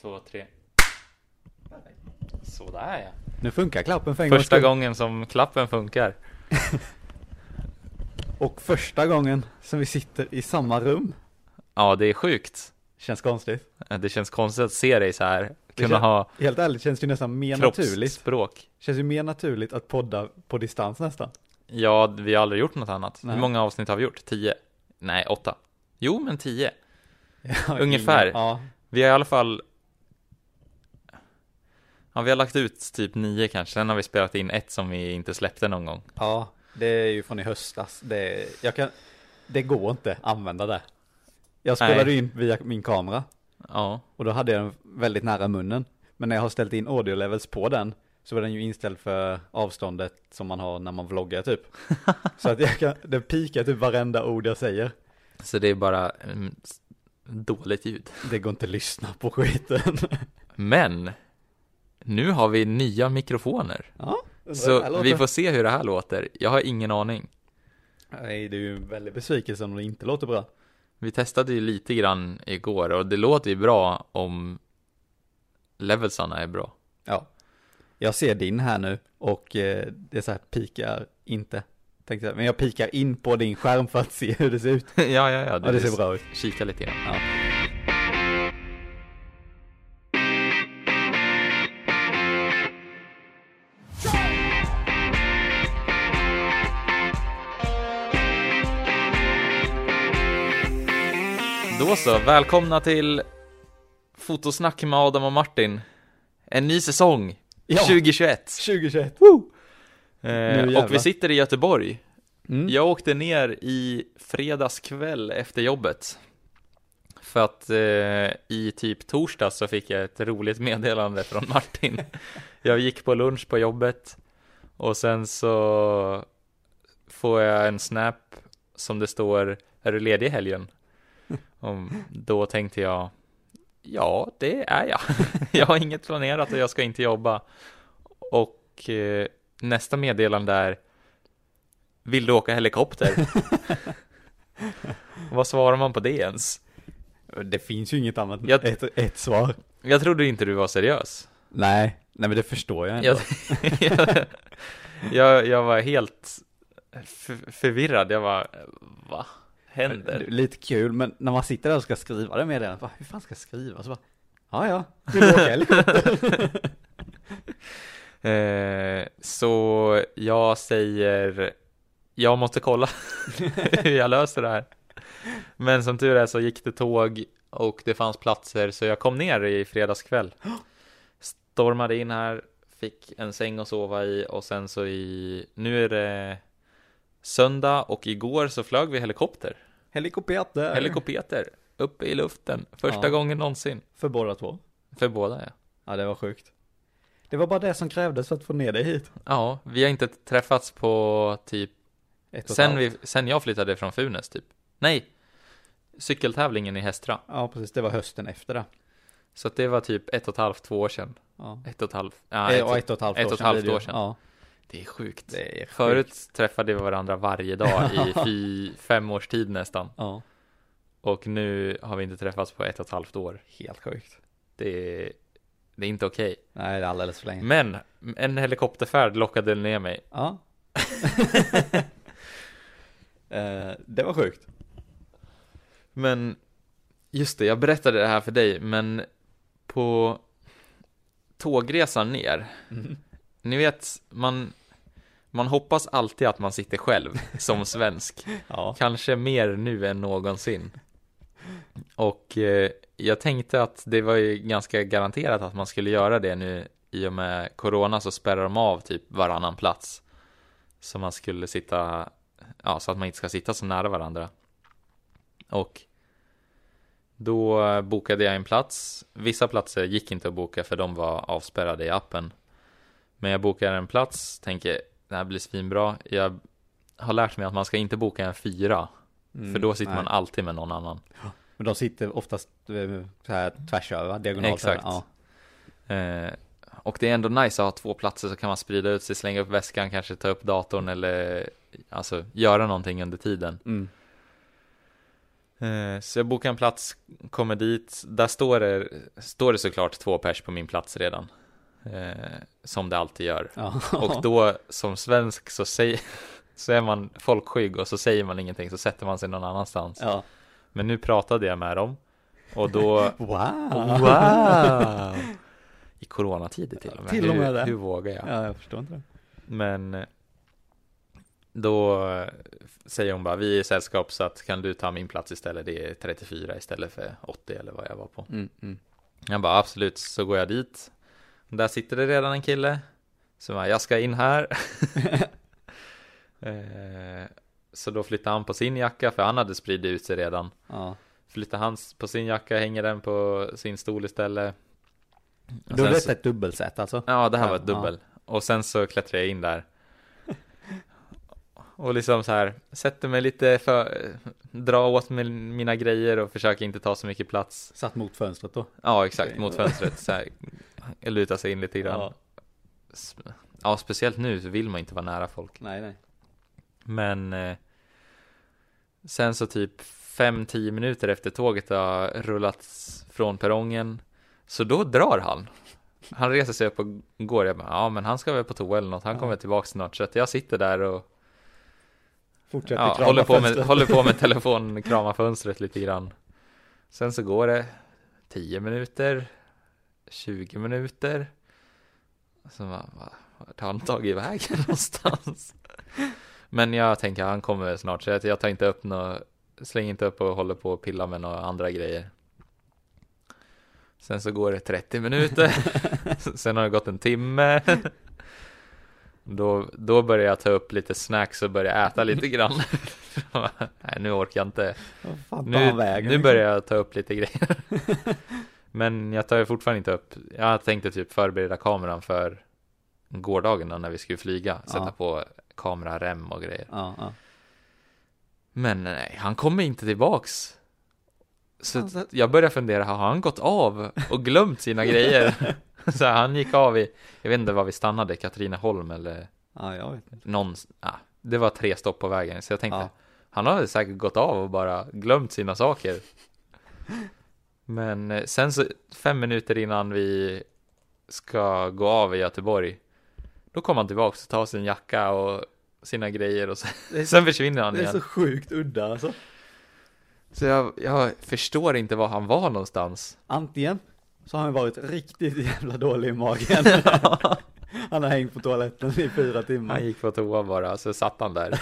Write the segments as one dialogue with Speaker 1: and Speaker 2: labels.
Speaker 1: två, tre. Sådär ja.
Speaker 2: Nu funkar klappen för en
Speaker 1: Första
Speaker 2: gångs skull.
Speaker 1: gången som klappen funkar.
Speaker 2: Och första gången som vi sitter i samma rum.
Speaker 1: Ja, det är sjukt.
Speaker 2: Känns konstigt.
Speaker 1: Det känns konstigt att se dig så här. Kunna
Speaker 2: kän-
Speaker 1: ha
Speaker 2: Helt ärligt känns det ju nästan mer naturligt.
Speaker 1: kroppsspråk.
Speaker 2: Känns ju mer naturligt att podda på distans nästan.
Speaker 1: Ja, vi har aldrig gjort något annat.
Speaker 2: Nej.
Speaker 1: Hur många avsnitt har vi gjort? Tio? Nej, åtta. Jo, men tio. Ungefär.
Speaker 2: Ja,
Speaker 1: Vi har i alla fall... Ja, vi har lagt ut typ nio kanske. Sen har vi spelat in ett som vi inte släppte någon gång.
Speaker 2: ja, det är ju från i höstas. Det, jag kan, det går inte att använda det. Jag
Speaker 1: Nej.
Speaker 2: spelade ju in via min kamera
Speaker 1: Ja,
Speaker 2: och då hade jag den väldigt nära munnen. Men när jag har ställt in audio levels på den så var den ju inställd för avståndet som man har när man vloggar typ. Så att jag kan, den pikar typ varenda ord jag säger.
Speaker 1: så det är bara mm, s- dåligt ljud.
Speaker 2: Det går inte att lyssna på skiten.
Speaker 1: Men nu har vi nya mikrofoner.
Speaker 2: Ja,
Speaker 1: Så vi får se hur det här låter. Jag har ingen aning.
Speaker 2: Nej, det är ju en väldig besvikelse om det inte låter bra.
Speaker 1: Vi testade ju lite grann igår och det låter ju bra om levelsarna är bra.
Speaker 2: Ja. Jag ser din här nu och eh, det är så här pikar inte. Tänkte jag, men jag pikar in på din skärm för att se hur det ser ut.
Speaker 1: ja, ja, ja.
Speaker 2: Ja, det ser bra ut.
Speaker 1: Kika lite grann.
Speaker 2: Ja.
Speaker 1: Då så, välkomna till Fotosnack med Adam och Martin. En ny säsong,
Speaker 2: Ja.
Speaker 1: 2021.
Speaker 2: 2021.
Speaker 1: Eh,
Speaker 2: jävlar.
Speaker 1: och vi sitter i Göteborg.
Speaker 2: Mm.
Speaker 1: Jag åkte ner i fredags kväll efter jobbet. För att eh, i typ torsdag så fick jag ett roligt meddelande från Martin. jag gick på lunch på jobbet och sen så får jag en snap som det står Är du ledig i helgen? Och då tänkte jag Ja, det är jag. jag har inget planerat och jag ska inte jobba. Och eh, nästa meddelande är Vill du åka helikopter? Vad svarar man på det ens?
Speaker 2: Det finns ju inget annat än
Speaker 1: Jag-
Speaker 2: ett, ett svar.
Speaker 1: Jag trodde inte du var seriös.
Speaker 2: Nej, nej men det förstår jag inte.
Speaker 1: Jag, jag, jag, var helt f- förvirrad. Jag var va? Händer?
Speaker 2: Lite kul, men när man sitter där och ska skriva det med den, bara, hur fan ska jag skriva? Så bara, ja ja, vill du åka helikopter?
Speaker 1: Eh, så jag säger jag måste kolla hur jag löser det här. Men som tur är så gick det tåg och det fanns platser så jag kom ner i fredags kväll. Stormade in här, fick en säng att sova i och sen så i nu är det söndag och igår så flög vi helikopter.
Speaker 2: Helikopter.
Speaker 1: Helikopter uppe i luften första
Speaker 2: Ja.
Speaker 1: gången någonsin
Speaker 2: För båda två.
Speaker 1: för båda. Ja.
Speaker 2: Ja, det var sjukt. Det var bara det som krävdes för att få ner dig hit.
Speaker 1: ja, vi har inte träffats på typ
Speaker 2: Ett och ett
Speaker 1: Sen,
Speaker 2: halvt.
Speaker 1: vi, sen jag flyttade från Funäs typ. Nej, cykeltävlingen i Hästra.
Speaker 2: Ja, precis, det var hösten efter det.
Speaker 1: Så att det var typ ett och ett halvt, två år sedan.
Speaker 2: Ja.
Speaker 1: Ett och ett halvt, ja,
Speaker 2: Eh,
Speaker 1: ett,
Speaker 2: och
Speaker 1: och-
Speaker 2: ett och ett halvt
Speaker 1: ett
Speaker 2: år
Speaker 1: och ett
Speaker 2: sedan.
Speaker 1: halvt
Speaker 2: blir det ju.
Speaker 1: år sedan.
Speaker 2: Ja.
Speaker 1: Det är sjukt.
Speaker 2: Det är
Speaker 1: Förut träffade vi varandra varje dag i fy, fem års tid nästan.
Speaker 2: Ja,
Speaker 1: Och nu har vi inte träffats på ett och ett halvt år.
Speaker 2: helt sjukt.
Speaker 1: Det är, det är inte okej.
Speaker 2: Nej, det är alldeles för länge.
Speaker 1: Men en helikopterfärd lockade ner mig.
Speaker 2: Ja. eh, det var sjukt.
Speaker 1: Men just det, jag berättade det här för dig, men på tågresan ner Ni vet, man, man hoppas alltid att man sitter själv som svensk.
Speaker 2: Ja.
Speaker 1: Kanske mer nu än någonsin. Och eh, jag tänkte att det var ju ganska garanterat att man skulle göra det nu. I och med corona så spärrar de av typ varannan plats. Så man skulle sitta, ja, så att man inte ska sitta så nära varandra. Och då eh, bokade jag en plats. Vissa platser gick inte att boka för de var avspärrade i appen. Men jag bokar en plats, tänker det här blir svinbra. Jag har lärt mig att man ska inte boka en fyra. för då sitter
Speaker 2: Mm, nej.
Speaker 1: man alltid med någon annan.
Speaker 2: Men de sitter oftalt eh, så här tvärs över, diagonalt.
Speaker 1: Exakt.
Speaker 2: över. Ja.
Speaker 1: Eh, och det är ändå nice att ha två platser så kan man sprida ut sig, slänga upp väskan, kanske ta upp Mm. datorn eller alltså göra någonting under tiden.
Speaker 2: Mm.
Speaker 1: Eh, Så jag bokar en plats, kommer dit. Där står det, står det såklart två pers på min plats redan. Eh, Som det alltid gör.
Speaker 2: Ja.
Speaker 1: Och då som svensk så, säger, så är man folkskygg och så säger man ingenting så sätter man sig någon annanstans.
Speaker 2: ja.
Speaker 1: Men nu pratade jag med dem och då
Speaker 2: Wow!
Speaker 1: Wow! Ah. I coronatider till och med.
Speaker 2: Till och med
Speaker 1: hur,
Speaker 2: det.
Speaker 1: hur vågar jag?
Speaker 2: Ja, jag förstår inte det.
Speaker 1: Men då säger hon bara, vi är i sällskap så att kan du ta min plats istället? Det är 34 istället för 80 eller vad jag var på.
Speaker 2: Mm, mm.
Speaker 1: Jag bara absolut, så går jag dit. Där sitter det redan en kille. Så jag, bara, jag ska in här. Eh, så då flyttar han på sin jacka, för han hade spridit ut sig redan.
Speaker 2: Ja.
Speaker 1: Flyttar han på sin jacka, hänger den på sin stol istället. Och
Speaker 2: Då är
Speaker 1: sen
Speaker 2: det
Speaker 1: så-
Speaker 2: ett dubbelsätt alltså?
Speaker 1: Ja, det här var ett
Speaker 2: Ja.
Speaker 1: dubbel. Och sen så klättrade jag in där. Och liksom så här, sätter mig lite för, dra åt mig mina grejer och försöker inte ta så mycket plats.
Speaker 2: Satt mot fönstret då?
Speaker 1: Ja, exakt,
Speaker 2: Okej.
Speaker 1: mot fönstret så här, luta sig in lite grann. Ja. ja, speciellt nu så vill man inte vara nära folk.
Speaker 2: Nej, nej.
Speaker 1: Men eh, sen så typ 5-10 minuter efter tåget har rullats från perrongen. Så då drar han. Han reser sig upp och går. Jag bara, ja men han ska väl på toa eller något. Han
Speaker 2: Ja.
Speaker 1: kommer tillbaka snart. Så att jag sitter där och
Speaker 2: Fortsätter
Speaker 1: ja,
Speaker 2: krama
Speaker 1: håller, på med,
Speaker 2: fönstret.
Speaker 1: håller på med telefonen, kramar fönstret lite grann. Sen så går det 10 minuter, 20 minuter. Så man bara, vart har han tagit vägen någonstans? Men jag tänker han kommer väl snart så jag- jag tar inte upp nå, slänger inte upp och håller på och pillar med några andra grejer. Sen så går det 30 minuter, sen har det gått en timme. Då, då börjar jag ta upp lite snacks och börja äta lite grann. Nej, nu orkar jag inte.
Speaker 2: Vad fan tar
Speaker 1: Nu,
Speaker 2: han vägen?
Speaker 1: nu börjar jag ta upp lite grejer. Men jag tar ju fortfarande inte upp. Jag tänkte typ förbereda kameran för gårdagen då när vi skulle flyga. Sätta
Speaker 2: Ja.
Speaker 1: på kamerarem och grejer.
Speaker 2: Ja, ja.
Speaker 1: Men nej, han kommer inte tillbaks. Så
Speaker 2: Alltså-
Speaker 1: att jag började fundera, har han gått av och glömt sina grejer? Så han gick av i, jag vet inte var vi stannade, Katrineholm eller
Speaker 2: ja, jag vet.
Speaker 1: någon, ah, det var tre stopp på vägen. Så jag tänkte,
Speaker 2: Ja.
Speaker 1: han har säkert gått av och bara glömt sina saker. Men eh, sen så, fem minuter innan vi ska gå av i Göteborg, då kommer han tillbaks och tar sin jacka och sina grejer och sen,
Speaker 2: Det är så-
Speaker 1: sen försvinner han
Speaker 2: Det är
Speaker 1: igen.
Speaker 2: så sjukt udda alltså.
Speaker 1: Så jag, jag förstår inte var han var någonstans.
Speaker 2: Antingen så har han varit riktigt jävla dålig i magen. han har hängt på toaletten i fyra timmar.
Speaker 1: Han gick på toa bara, så satt han där.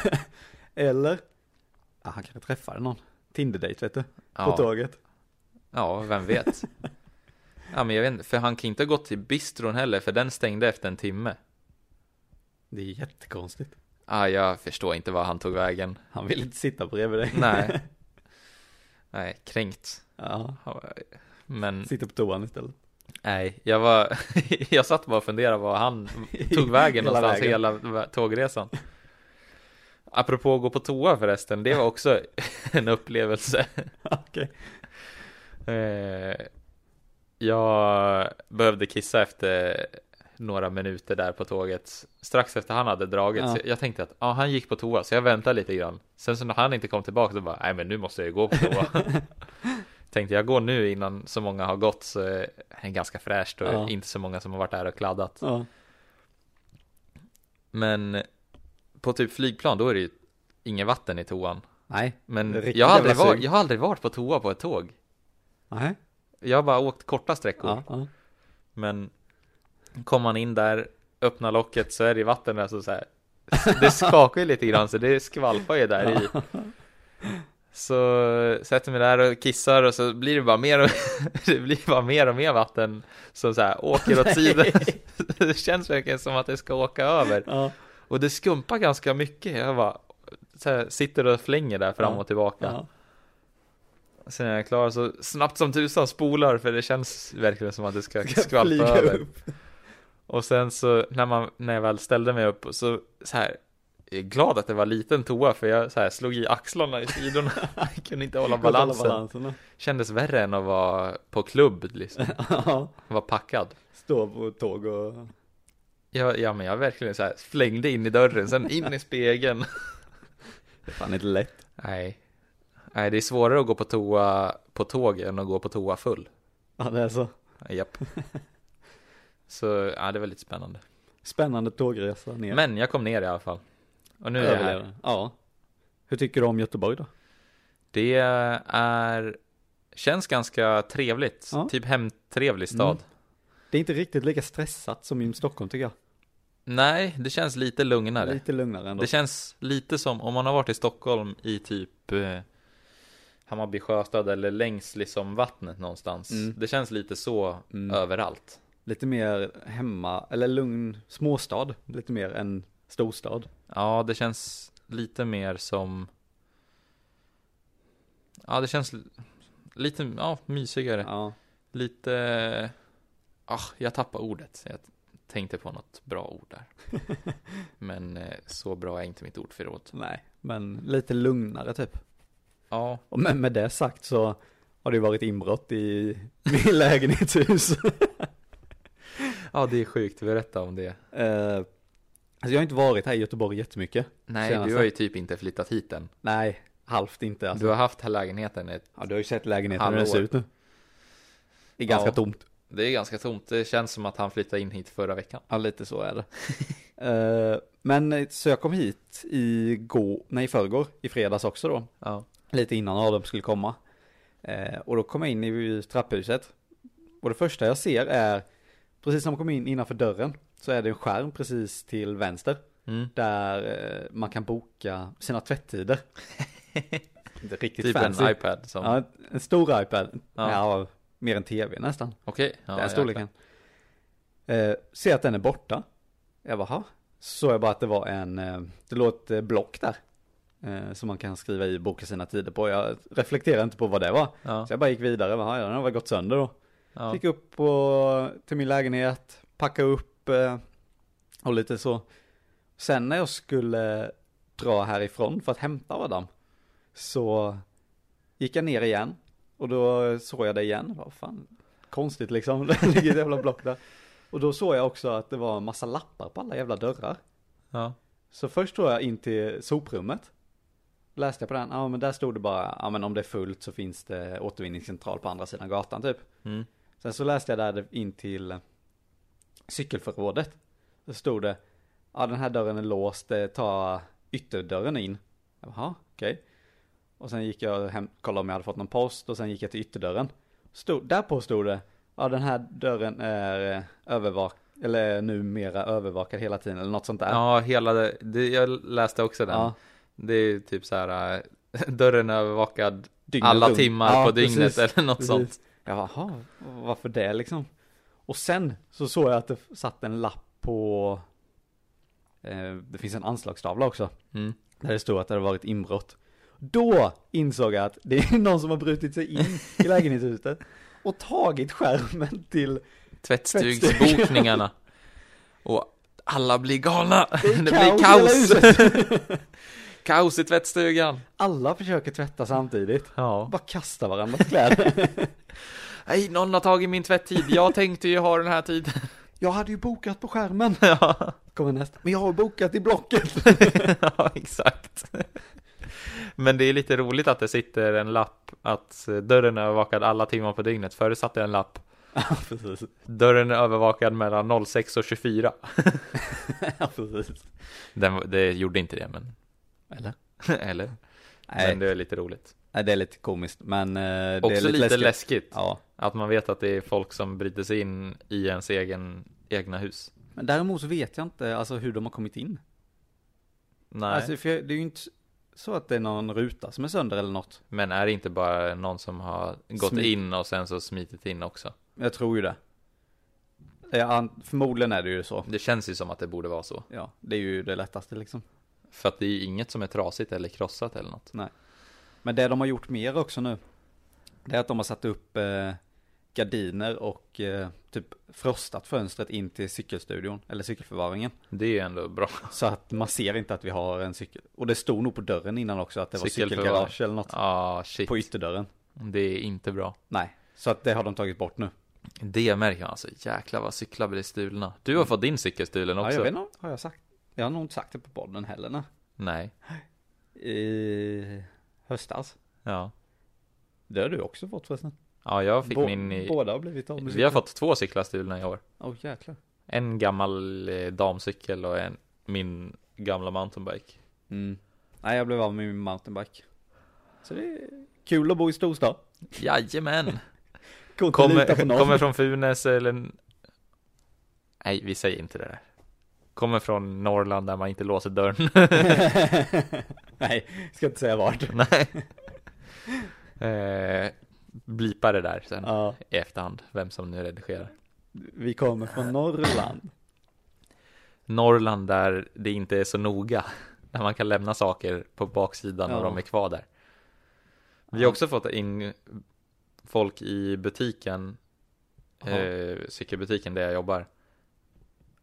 Speaker 2: Eller, ja, han kanske träffade någon. Tinder-date vet du, på
Speaker 1: Ja,
Speaker 2: tåget.
Speaker 1: ja vem vet. Ja, men jag vet inte, för han kan inte ha gått till bistron heller, för den stängde efter en timme.
Speaker 2: Det är jättekonstigt.
Speaker 1: Ah, jag förstår inte var han tog vägen.
Speaker 2: Han vill inte sitta bredvid dig.
Speaker 1: Nej. Nej, kränkt.
Speaker 2: Ja,
Speaker 1: Men
Speaker 2: sitta på toan istället.
Speaker 1: nej, jag var... jag satt bara och funderade var han tog vägen
Speaker 2: Hela
Speaker 1: någonstans
Speaker 2: vägen.
Speaker 1: hela vä- tågresan. Apropå att gå på toa förresten, det var också en upplevelse.
Speaker 2: Okej.
Speaker 1: Eh, jag behövde kissa efter några minuter där på tåget. Strax efter han hade dragit.
Speaker 2: Ja.
Speaker 1: Så jag tänkte att ah, han gick på toa, så jag väntade lite grann. Sen så när han inte kom tillbaka så bara, nej men nu måste jag ju gå på toa. tänkte jag går nu innan så många har gått så är det ganska fräscht och
Speaker 2: Ja.
Speaker 1: inte så många som har varit där och kladdat.
Speaker 2: Ja.
Speaker 1: Men på typ flygplan då är det ju inget vatten i toan.
Speaker 2: Nej. Det är
Speaker 1: Men
Speaker 2: riktigt
Speaker 1: jag har, aldrig
Speaker 2: jävla
Speaker 1: var,
Speaker 2: sug.
Speaker 1: jag har aldrig varit på toa på ett tåg.
Speaker 2: Nej.
Speaker 1: Jag har bara åkt korta sträckor.
Speaker 2: Ja, ja.
Speaker 1: Men kom man in där, öppna locket så är det vatten där så, så här. Det skakar ju lite grann så det skvalpar ju där i. Så sätter mig där och kissar och så blir det bara mer och, det blir bara mer och mer vatten som så här åker åt sidan. Det känns verkligen som att det ska åka över.
Speaker 2: ja.
Speaker 1: Och det skumpar ganska mycket. Jag bara så här, sitter och flänger där fram
Speaker 2: Ja,
Speaker 1: och tillbaka.
Speaker 2: ja.
Speaker 1: Sen när jag är klar så snabbt som tusan spolar för det känns verkligen som att det ska,
Speaker 2: Ska
Speaker 1: skvalpa
Speaker 2: flyga
Speaker 1: över.
Speaker 2: upp.
Speaker 1: Och sen så när, man, när jag väl ställde mig upp så, så här jag är glad att det var liten toa för jag så här, slog i axlarna i sidorna. Jag kunde inte hålla balansen.
Speaker 2: balansen.
Speaker 1: Kändes värre än att vara på klubb liksom.
Speaker 2: Ja.
Speaker 1: Vara packad.
Speaker 2: Stå på tåg och...
Speaker 1: Ja, ja men jag verkligen så här flängde in i dörren, sen in i spegeln.
Speaker 2: Det är fan inte lätt.
Speaker 1: Nej. Nej, det är svårare att gå på toa på tåg än att gå på toa full.
Speaker 2: Ja, det är så.
Speaker 1: Japp. Så, ja det var lite spännande.
Speaker 2: Spännande tågresa ner.
Speaker 1: Men jag kom ner i alla fall. Och nu är jag här.
Speaker 2: Överlevde. Ja. Hur tycker du om Göteborg då?
Speaker 1: Det är, känns ganska trevligt.
Speaker 2: Ja. Mm.
Speaker 1: Typ hemtrevlig stad.
Speaker 2: Det är inte riktigt lika stressat som i Stockholm tycker jag.
Speaker 1: Nej, det känns lite lugnare.
Speaker 2: Lite lugnare ändå.
Speaker 1: Det känns lite som om man har varit i Stockholm i typ eh, Hammarby sjöstad eller längs liksom vattnet någonstans.
Speaker 2: Mm.
Speaker 1: Det känns lite så
Speaker 2: Mm.
Speaker 1: överallt.
Speaker 2: Lite mer hemma, eller lugn småstad. Lite mer än storstad.
Speaker 1: Ja, det känns lite mer som Ja, det känns l- lite ja, mysigare.
Speaker 2: Ja.
Speaker 1: Lite ah, Jag tappar ordet. Jag tänkte på något bra ord där. Men eh, så bra är inte mitt ordförråd.
Speaker 2: Nej, men lite lugnare typ.
Speaker 1: Ja,
Speaker 2: Och med, med det sagt så har det ju varit inbrott i min lägenhetshus.
Speaker 1: ja, det är sjukt. Berätta om det.
Speaker 2: Eh, alltså jag har inte varit här i Göteborg jättemycket.
Speaker 1: Nej,
Speaker 2: Senast
Speaker 1: du har ju typ inte flyttat hit än.
Speaker 2: Nej, halvt inte alltså.
Speaker 1: Du har haft här lägenheten ett...
Speaker 2: Ja, du har ju sett lägenheten hur den
Speaker 1: Halvår.
Speaker 2: ser ut nu. Det är ganska
Speaker 1: Ja.
Speaker 2: tomt.
Speaker 1: Det är ganska tomt. Det känns som att han flyttade in hit förra veckan.
Speaker 2: Ja, lite så är det. Eh, men så jag kom hit i går, nej i förrgår, i fredags också då.
Speaker 1: Ja.
Speaker 2: Lite innan Adam skulle komma. Eh, och då kom jag in i trapphuset. Och det första jag ser är, precis som man kommer in innanför dörren, så är det en skärm precis till vänster.
Speaker 1: Mm.
Speaker 2: Där eh, man kan boka sina tvättider. Inte riktigt
Speaker 1: Typ
Speaker 2: fancy.
Speaker 1: en iPad som...
Speaker 2: Ja, en stor iPad.
Speaker 1: Ja.
Speaker 2: Ja. mer en tv nästan.
Speaker 1: Okej. Ja,
Speaker 2: den
Speaker 1: jag-
Speaker 2: storleken. Eh, ser att den är borta. Jag bara, "Ha?" Så såg jag bara att det var en, eh, det låg ett eh, block där. Eh, som man kan skriva i och boka sina tider på. Jag reflekterar inte på vad det var.
Speaker 1: Ja.
Speaker 2: Så jag bara gick vidare, "Jaha, ja, den har väl gått sönder då.
Speaker 1: Ja.
Speaker 2: Gick upp på, till min lägenhet, packade upp eh, och lite så. Sen när jag skulle dra härifrån för att hämta Adam så gick jag ner igen och då såg jag det igen. Vad fan, konstigt liksom, det ligger ett jävla block där. Och då såg jag också att det var en massa lappar på alla jävla dörrar.
Speaker 1: Ja.
Speaker 2: Så först tog jag in till soprummet. Läste jag på den, ja men där stod det bara, ja men om det är fullt så finns det återvinningscentral på andra sidan gatan typ.
Speaker 1: Mm.
Speaker 2: Sen så läste jag där in till cykelförrådet. Då stod det, ja den här dörren är låst, eh, ta ytterdörren in. Jaha, okej. Och sen gick jag hem, kollade om jag hade fått någon post och sen gick jag till ytterdörren. Stod, därpå stod det, ja den här dörren är eh, övervak, eller numera övervakad hela tiden eller något sånt där.
Speaker 1: Ja, hela det, det, jag läste också den.
Speaker 2: Ja,
Speaker 1: Det är ju typ så här, äh, dörren är övervakad
Speaker 2: dygnet
Speaker 1: alla
Speaker 2: runt.
Speaker 1: timmar
Speaker 2: Ja,
Speaker 1: på dygnet
Speaker 2: precis.
Speaker 1: eller något
Speaker 2: Precis.
Speaker 1: sånt.
Speaker 2: Jag jaha, varför det liksom? Och sen så såg jag att det satt en lapp på, eh, det finns en anslagstavla också,
Speaker 1: Mm.
Speaker 2: där det stod att det hade varit inbrott. Då insåg jag att det är någon som har brutit sig in i lägenhetshuset och tagit skärmen till,
Speaker 1: Tvättstugsbokningarna. Och alla blir galna. Det, blir
Speaker 2: i hela
Speaker 1: kaos.
Speaker 2: huset.
Speaker 1: Kaos i tvättstugan.
Speaker 2: Alla försöker tvätta samtidigt.
Speaker 1: Ja.
Speaker 2: Bara kasta varandras kläder.
Speaker 1: Nej, någon har tagit min tvätttid. Jag tänkte ju ha den här tiden.
Speaker 2: Jag hade ju bokat på skärmen.
Speaker 1: ja.
Speaker 2: Kommer nästa. Men jag har bokat i blocket.
Speaker 1: ja, exakt. Men det är lite roligt att det sitter en lapp att eh, dörren är övervakad alla timmar på dygnet. Förut satt det en lapp.
Speaker 2: Ja, precis.
Speaker 1: Dörren är övervakad mellan 06 och 24.
Speaker 2: Ja, precis.
Speaker 1: Den, var- det gjorde inte det, men...
Speaker 2: Eller?
Speaker 1: Eller?
Speaker 2: Nej,
Speaker 1: Men det är lite roligt.
Speaker 2: Nej, det är lite komiskt, men eh, det
Speaker 1: Också
Speaker 2: är lite,
Speaker 1: lite,
Speaker 2: läskigt.
Speaker 1: läskigt.
Speaker 2: Ja,
Speaker 1: Att man vet att det är folk som bryter sig in i ens egen, egna hus.
Speaker 2: men däremot så vet jag inte alltså, hur de har kommit in.
Speaker 1: Nej,
Speaker 2: Alltså, för jag, det är ju inte så att det är någon ruta som är sönder eller något.
Speaker 1: men är det inte bara någon som har gått
Speaker 2: Smit.
Speaker 1: in och sen så smitit in också?
Speaker 2: Jag tror ju det. Ja, an- förmodligen är det ju så.
Speaker 1: Det känns ju som att det borde vara så.
Speaker 2: Ja, det är ju det lättaste liksom.
Speaker 1: För att det är ju inget som är trasigt eller krossat eller något.
Speaker 2: Men det de har gjort mer också nu, det är att de har satt upp eh, gardiner och eh, typ frostat fönstret in till cykelstudion, eller cykelförvaringen.
Speaker 1: Det är ju ändå bra.
Speaker 2: Så att man ser inte att vi har en cykel. Och det stod nog på dörren innan också att det var
Speaker 1: Cykelförvaring.
Speaker 2: cykelgarage eller något.
Speaker 1: Ja, Ah, shit.
Speaker 2: På ytterdörren.
Speaker 1: Det är inte bra.
Speaker 2: Nej, så att det har de tagit bort nu.
Speaker 1: Det märker man alltså. Jäklar vad cyklar blir stulna. Du har fått din cykel stulen
Speaker 2: Ja,
Speaker 1: också.
Speaker 2: jag vet inte, har jag sagt? Jag har nog inte sagt det på podden heller. Nej.
Speaker 1: Nej.
Speaker 2: I höstas.
Speaker 1: Ja,
Speaker 2: Det har du också fått förresten.
Speaker 1: ja jag fick
Speaker 2: Bå-
Speaker 1: min i...
Speaker 2: Båda eh, har blivit av med
Speaker 1: Vi har fått två cyklar stulna i år.
Speaker 2: Åh jäklar.
Speaker 1: En gammal eh, damcykel och en min gamla mountainbike.
Speaker 2: Mm. Nej, jag blev av med min mountainbike. Så det är kul att bo i storstad.
Speaker 1: Jajamän!
Speaker 2: Går inte att lita på
Speaker 1: Kommer,
Speaker 2: någon.
Speaker 1: kommer från Funäs eller... Nej, vi säger inte det där. Kommer från Norrland där man inte låser dörren.
Speaker 2: Nej, ska inte säga vart.
Speaker 1: Nej. Eh, blipa det där sen
Speaker 2: Ja,
Speaker 1: i efterhand, vem som nu redigerar.
Speaker 2: vi kommer från Norrland.
Speaker 1: Norrland där det inte är så noga. Där man kan lämna saker på baksidan och
Speaker 2: Ja.
Speaker 1: de är kvar där. Vi har också fått in folk i butiken,
Speaker 2: Ja.
Speaker 1: eh, cykelbutiken där jag jobbar.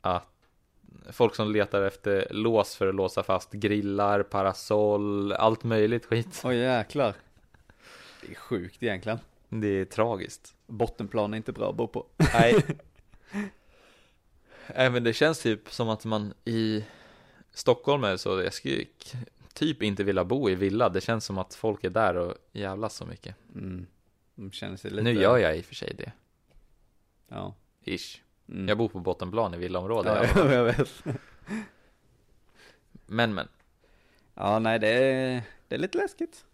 Speaker 1: Att folk som letar efter lås för att låsa fast grillar, parasoll, allt möjligt skit.
Speaker 2: Åh jäklar. Det är sjukt egentligen.
Speaker 1: Det är tragiskt.
Speaker 2: Bottenplan är inte bra att bo på.
Speaker 1: Nej. Nej men det känns typ som att man i Stockholm är så, jag skulle ju k- typ inte vilja bo i villa. Det känns som att folk är där och jävlas så mycket.
Speaker 2: Mm. De känner sig lite...
Speaker 1: Nu gör jag i och för sig det,
Speaker 2: Ja.
Speaker 1: ish.
Speaker 2: Mm.
Speaker 1: Jag bor på bottenplan i villaområdet.
Speaker 2: ja, ja, jag vet.
Speaker 1: Men men,
Speaker 2: Ja, nej, det är, det är lite läskigt.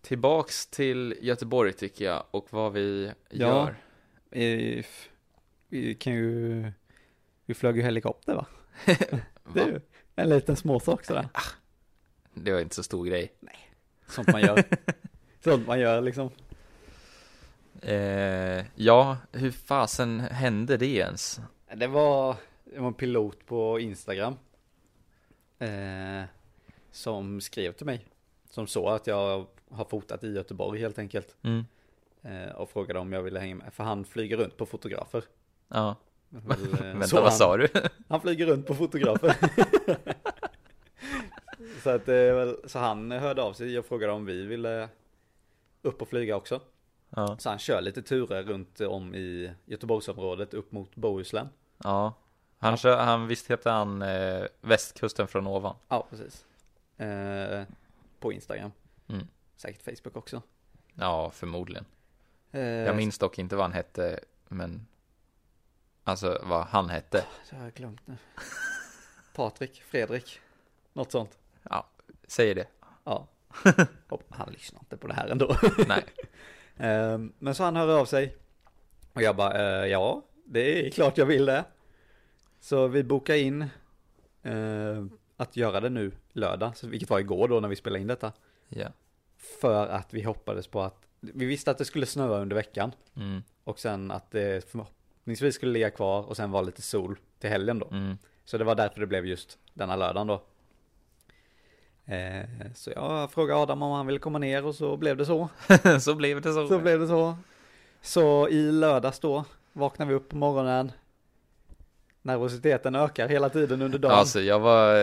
Speaker 1: tillbaks till Göteborg tycker jag och vad vi
Speaker 2: Ja.
Speaker 1: gör.
Speaker 2: Eh, f- Vi kan ju... Vi flög ju helikopter va? Det är
Speaker 1: Va?
Speaker 2: ju en liten småsak sådär.
Speaker 1: Det var inte så stor grej.
Speaker 2: Sånt man gör. Sånt man gör liksom.
Speaker 1: Eh, ja, hur fasen hände det ens?
Speaker 2: Det var, det var en pilot på Instagram. Eh, som skrev till mig. Som såg att jag har fotat i Göteborg helt enkelt.
Speaker 1: Mm.
Speaker 2: Eh, och frågade om jag ville hänga med. För han flyger runt på fotografer.
Speaker 1: Ja,
Speaker 2: Väl, eh, så
Speaker 1: vänta vad
Speaker 2: han,
Speaker 1: sa du?
Speaker 2: Han flyger runt på fotografer. så, att, det är väl- så han hörde av sig och frågade om vi ville upp och flyga också.
Speaker 1: ja.
Speaker 2: Så han kör lite turer runt om i Göteborgsområdet upp mot Bohuslän.
Speaker 1: Ja, han, kör, han visst heter han eh, västkusten från ovan.
Speaker 2: Ja, precis. Eh, på Instagram.
Speaker 1: Mm.
Speaker 2: Säkert Facebook också.
Speaker 1: Ja, förmodligen.
Speaker 2: Eh,
Speaker 1: Jag minns dock inte vad han hette, men alltså vad han hette.
Speaker 2: Det har jag glömt nu. Patrik, Fredrik, något sånt.
Speaker 1: Säger det?
Speaker 2: Ja. Hopp, han lyssnar inte på det här ändå.
Speaker 1: Nej.
Speaker 2: Eh, men så han hör av sig. Och jag bara, eh, ja, det är klart jag vill det. Så vi bokar in eh, att göra det nu lördag, så- vilket var igår då när vi spelade in detta.
Speaker 1: Ja.
Speaker 2: För att vi hoppades på att, vi visste att det skulle snöa under veckan.
Speaker 1: Mm,
Speaker 2: Och sen att det förhoppningsvis skulle ligga kvar och sen vara lite sol till helgen då.
Speaker 1: mm,
Speaker 2: Så det var därför det blev just denna lördagen då. Eh, så jag frågade Adam om han ville komma ner och så blev det så.
Speaker 1: så blev det så.
Speaker 2: Så blev det så. Så i lördags då vaknade vi upp på morgonen. Nervositeten ökar hela tiden under dagen.
Speaker 1: Alltså jag var,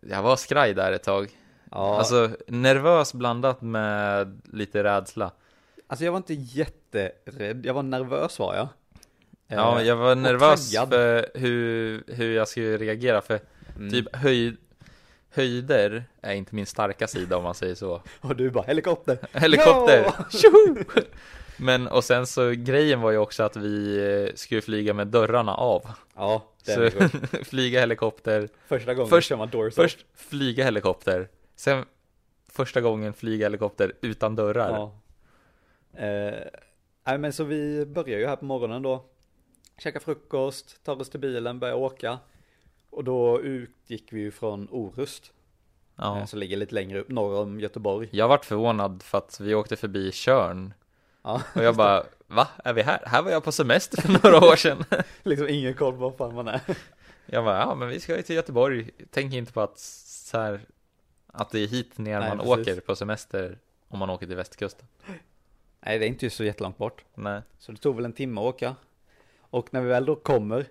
Speaker 1: jag var skraj där ett tag.
Speaker 2: ja, alltså,
Speaker 1: Alltså nervös blandat med lite rädsla.
Speaker 2: Alltså, jag var inte jätterädd, jag var nervös var jag. Eh,
Speaker 1: Ja, jag var nervös
Speaker 2: taggad.
Speaker 1: för hur, hur jag skulle reagera för
Speaker 2: mm.
Speaker 1: typ höj, höjder är inte min starka sida om man säger så.
Speaker 2: Och du bara helikopter.
Speaker 1: Helikopter!
Speaker 2: Ja!
Speaker 1: Tjoho! Men och sen så grejen var ju också att vi eh, skulle flyga med dörrarna av.
Speaker 2: Ja, det
Speaker 1: Så
Speaker 2: är så...
Speaker 1: flyga helikopter,
Speaker 2: första gången
Speaker 1: Först-
Speaker 2: kör man doors up.
Speaker 1: först flyga helikopter, sen första gången flyga helikopter utan dörrar.
Speaker 2: Ja. Eh, nej men så vi börjar ju här på morgonen då. Käkar frukost, tar oss till bilen, börjar åka. Och då utgick vi ju från Orust,
Speaker 1: Ja.
Speaker 2: eh, som ligger lite längre upp norr om Göteborg.
Speaker 1: Jag vart förvånad för att vi åkte förbi Körn
Speaker 2: Ja,
Speaker 1: och jag bara Va? Är vi här? Här var jag på semester för några år sedan.
Speaker 2: liksom ingen koll på var fan man är.
Speaker 1: Jag bara, ja men vi ska ju till Göteborg. Tänk inte på att så här, att det är hit ner
Speaker 2: Nej,
Speaker 1: man
Speaker 2: precis.
Speaker 1: åker på semester om man åker till västkusten.
Speaker 2: Nej, det är inte så jättelångt bort.
Speaker 1: Nej.
Speaker 2: Så det tog väl en timme att åka. Och när vi väl då kommer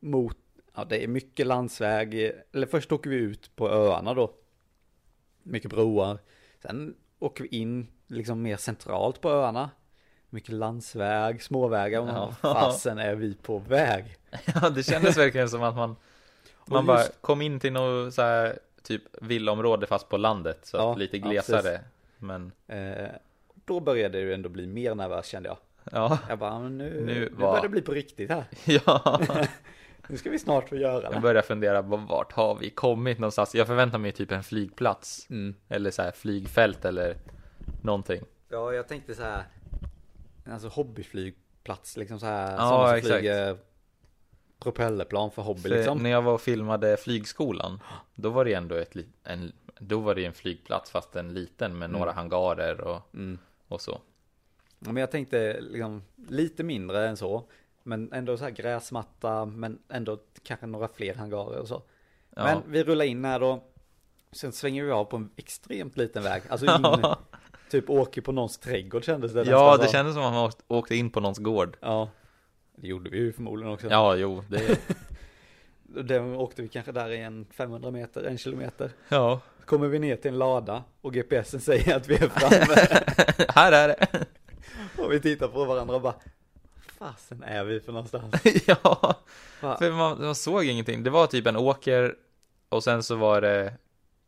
Speaker 2: mot, ja det är mycket landsväg, eller först åker vi ut på öarna då. Mycket broar. Sen åker vi in liksom mer centralt på öarna. Mycket landsväg, småvägar och
Speaker 1: Ja.
Speaker 2: ja. fasen är vi på väg?
Speaker 1: Ja, det kändes verkligen som att man, man
Speaker 2: Och
Speaker 1: bara
Speaker 2: just-
Speaker 1: kom in till något så här typ villaområde fast på landet, så att
Speaker 2: Ja,
Speaker 1: lite
Speaker 2: ja,
Speaker 1: glesare. men
Speaker 2: Eh, då började det ju ändå bli mer nervös kände jag.
Speaker 1: ja.
Speaker 2: Jag bara, men nu,
Speaker 1: Nu
Speaker 2: nu,
Speaker 1: var-
Speaker 2: börjar det bli på riktigt här.
Speaker 1: ja.
Speaker 2: Nu ska vi snart få göra
Speaker 1: Jag
Speaker 2: det.
Speaker 1: börjar fundera, vad- vart har vi kommit någonstans? Jag förväntar mig typ en flygplats.
Speaker 2: Mm.
Speaker 1: Eller så här flygfält eller någonting.
Speaker 2: Ja, jag tänkte så här. Alltså hobbyflygplats, liksom så här.
Speaker 1: Ja,
Speaker 2: sådana som
Speaker 1: exakt.
Speaker 2: flyger propellerplan för hobby
Speaker 1: För
Speaker 2: liksom.
Speaker 1: När jag var och filmade flygskolan, då var det ändå ett, li- en, då var det en flygplats fast en liten med några hangarer och,
Speaker 2: Mm.
Speaker 1: och så.
Speaker 2: Ja, Men jag tänkte liksom lite mindre än så. Men ändå så här gräsmatta, men ändå kanske några fler hangarer och så.
Speaker 1: Ja.
Speaker 2: Men vi rullar in här då. Sen svänger vi av på en extremt liten väg. Alltså in, typ åker på någons trädgård kändes
Speaker 1: ja,
Speaker 2: det nästan
Speaker 1: det
Speaker 2: som.
Speaker 1: kändes som att man åkt- åkte in på någons gård.
Speaker 2: Ja, det gjorde vi ju förmodligen också.
Speaker 1: Ja, jo, det,
Speaker 2: Den åkte vi kanske där i en 500 meter, en kilometer.
Speaker 1: ja.
Speaker 2: Kommer vi ner till en lada och GPSen säger att vi är framme.
Speaker 1: Här är det.
Speaker 2: och vi tittar på varandra och bara, fasen är vi för någonstans?
Speaker 1: ja,
Speaker 2: Va?
Speaker 1: för man, man såg ingenting. Det var typ en åker och sen så var det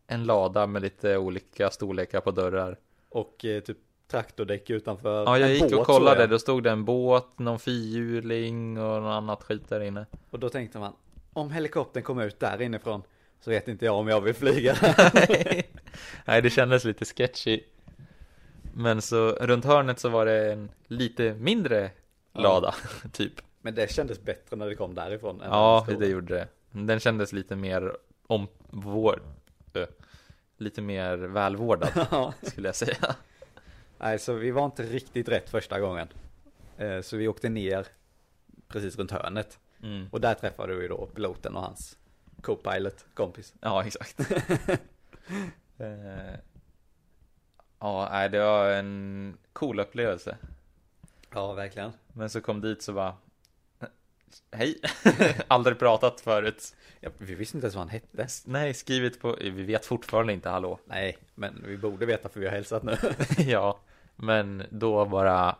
Speaker 1: en lada med lite olika storlekar på dörrar.
Speaker 2: Och eh, typ trakordäck utanför.
Speaker 1: Ja, jag
Speaker 2: en
Speaker 1: gick
Speaker 2: båt,
Speaker 1: och kollade,
Speaker 2: såg jag.
Speaker 1: då stod det en båt, någon fyrhjuling och något annat skit där inne.
Speaker 2: Och då tänkte man, om helikoptern kommer ut där inifrån så vet inte jag om jag vill flyga.
Speaker 1: Nej, det kändes lite sketchy. Men så runt hörnet så var det en lite mindre
Speaker 2: Ja.
Speaker 1: lada, typ.
Speaker 2: Men det kändes bättre när det kom därifrån. än
Speaker 1: Ja,
Speaker 2: när
Speaker 1: det
Speaker 2: stod.
Speaker 1: gjorde det. Den kändes lite mer om vår... ö, Lite mer välvårdad,
Speaker 2: Ja.
Speaker 1: skulle jag säga.
Speaker 2: Nej, så vi var inte riktigt rätt första gången. Eh, Så vi åkte ner precis runt hörnet.
Speaker 1: Mm.
Speaker 2: Och där träffade vi då piloten och hans co-pilot, kompis.
Speaker 1: Ja, exakt. Eh, ja, nej, det var en cool upplevelse.
Speaker 2: Ja, verkligen.
Speaker 1: Men så kom dit så bara... Hej! Aldrig pratat förut.
Speaker 2: Ja, vi visste inte ens vad han hette.
Speaker 1: Nej, skrivit på... Vi vet fortfarande inte hallå.
Speaker 2: Nej, men vi borde veta för vi har hälsat nu.
Speaker 1: ja, men då bara...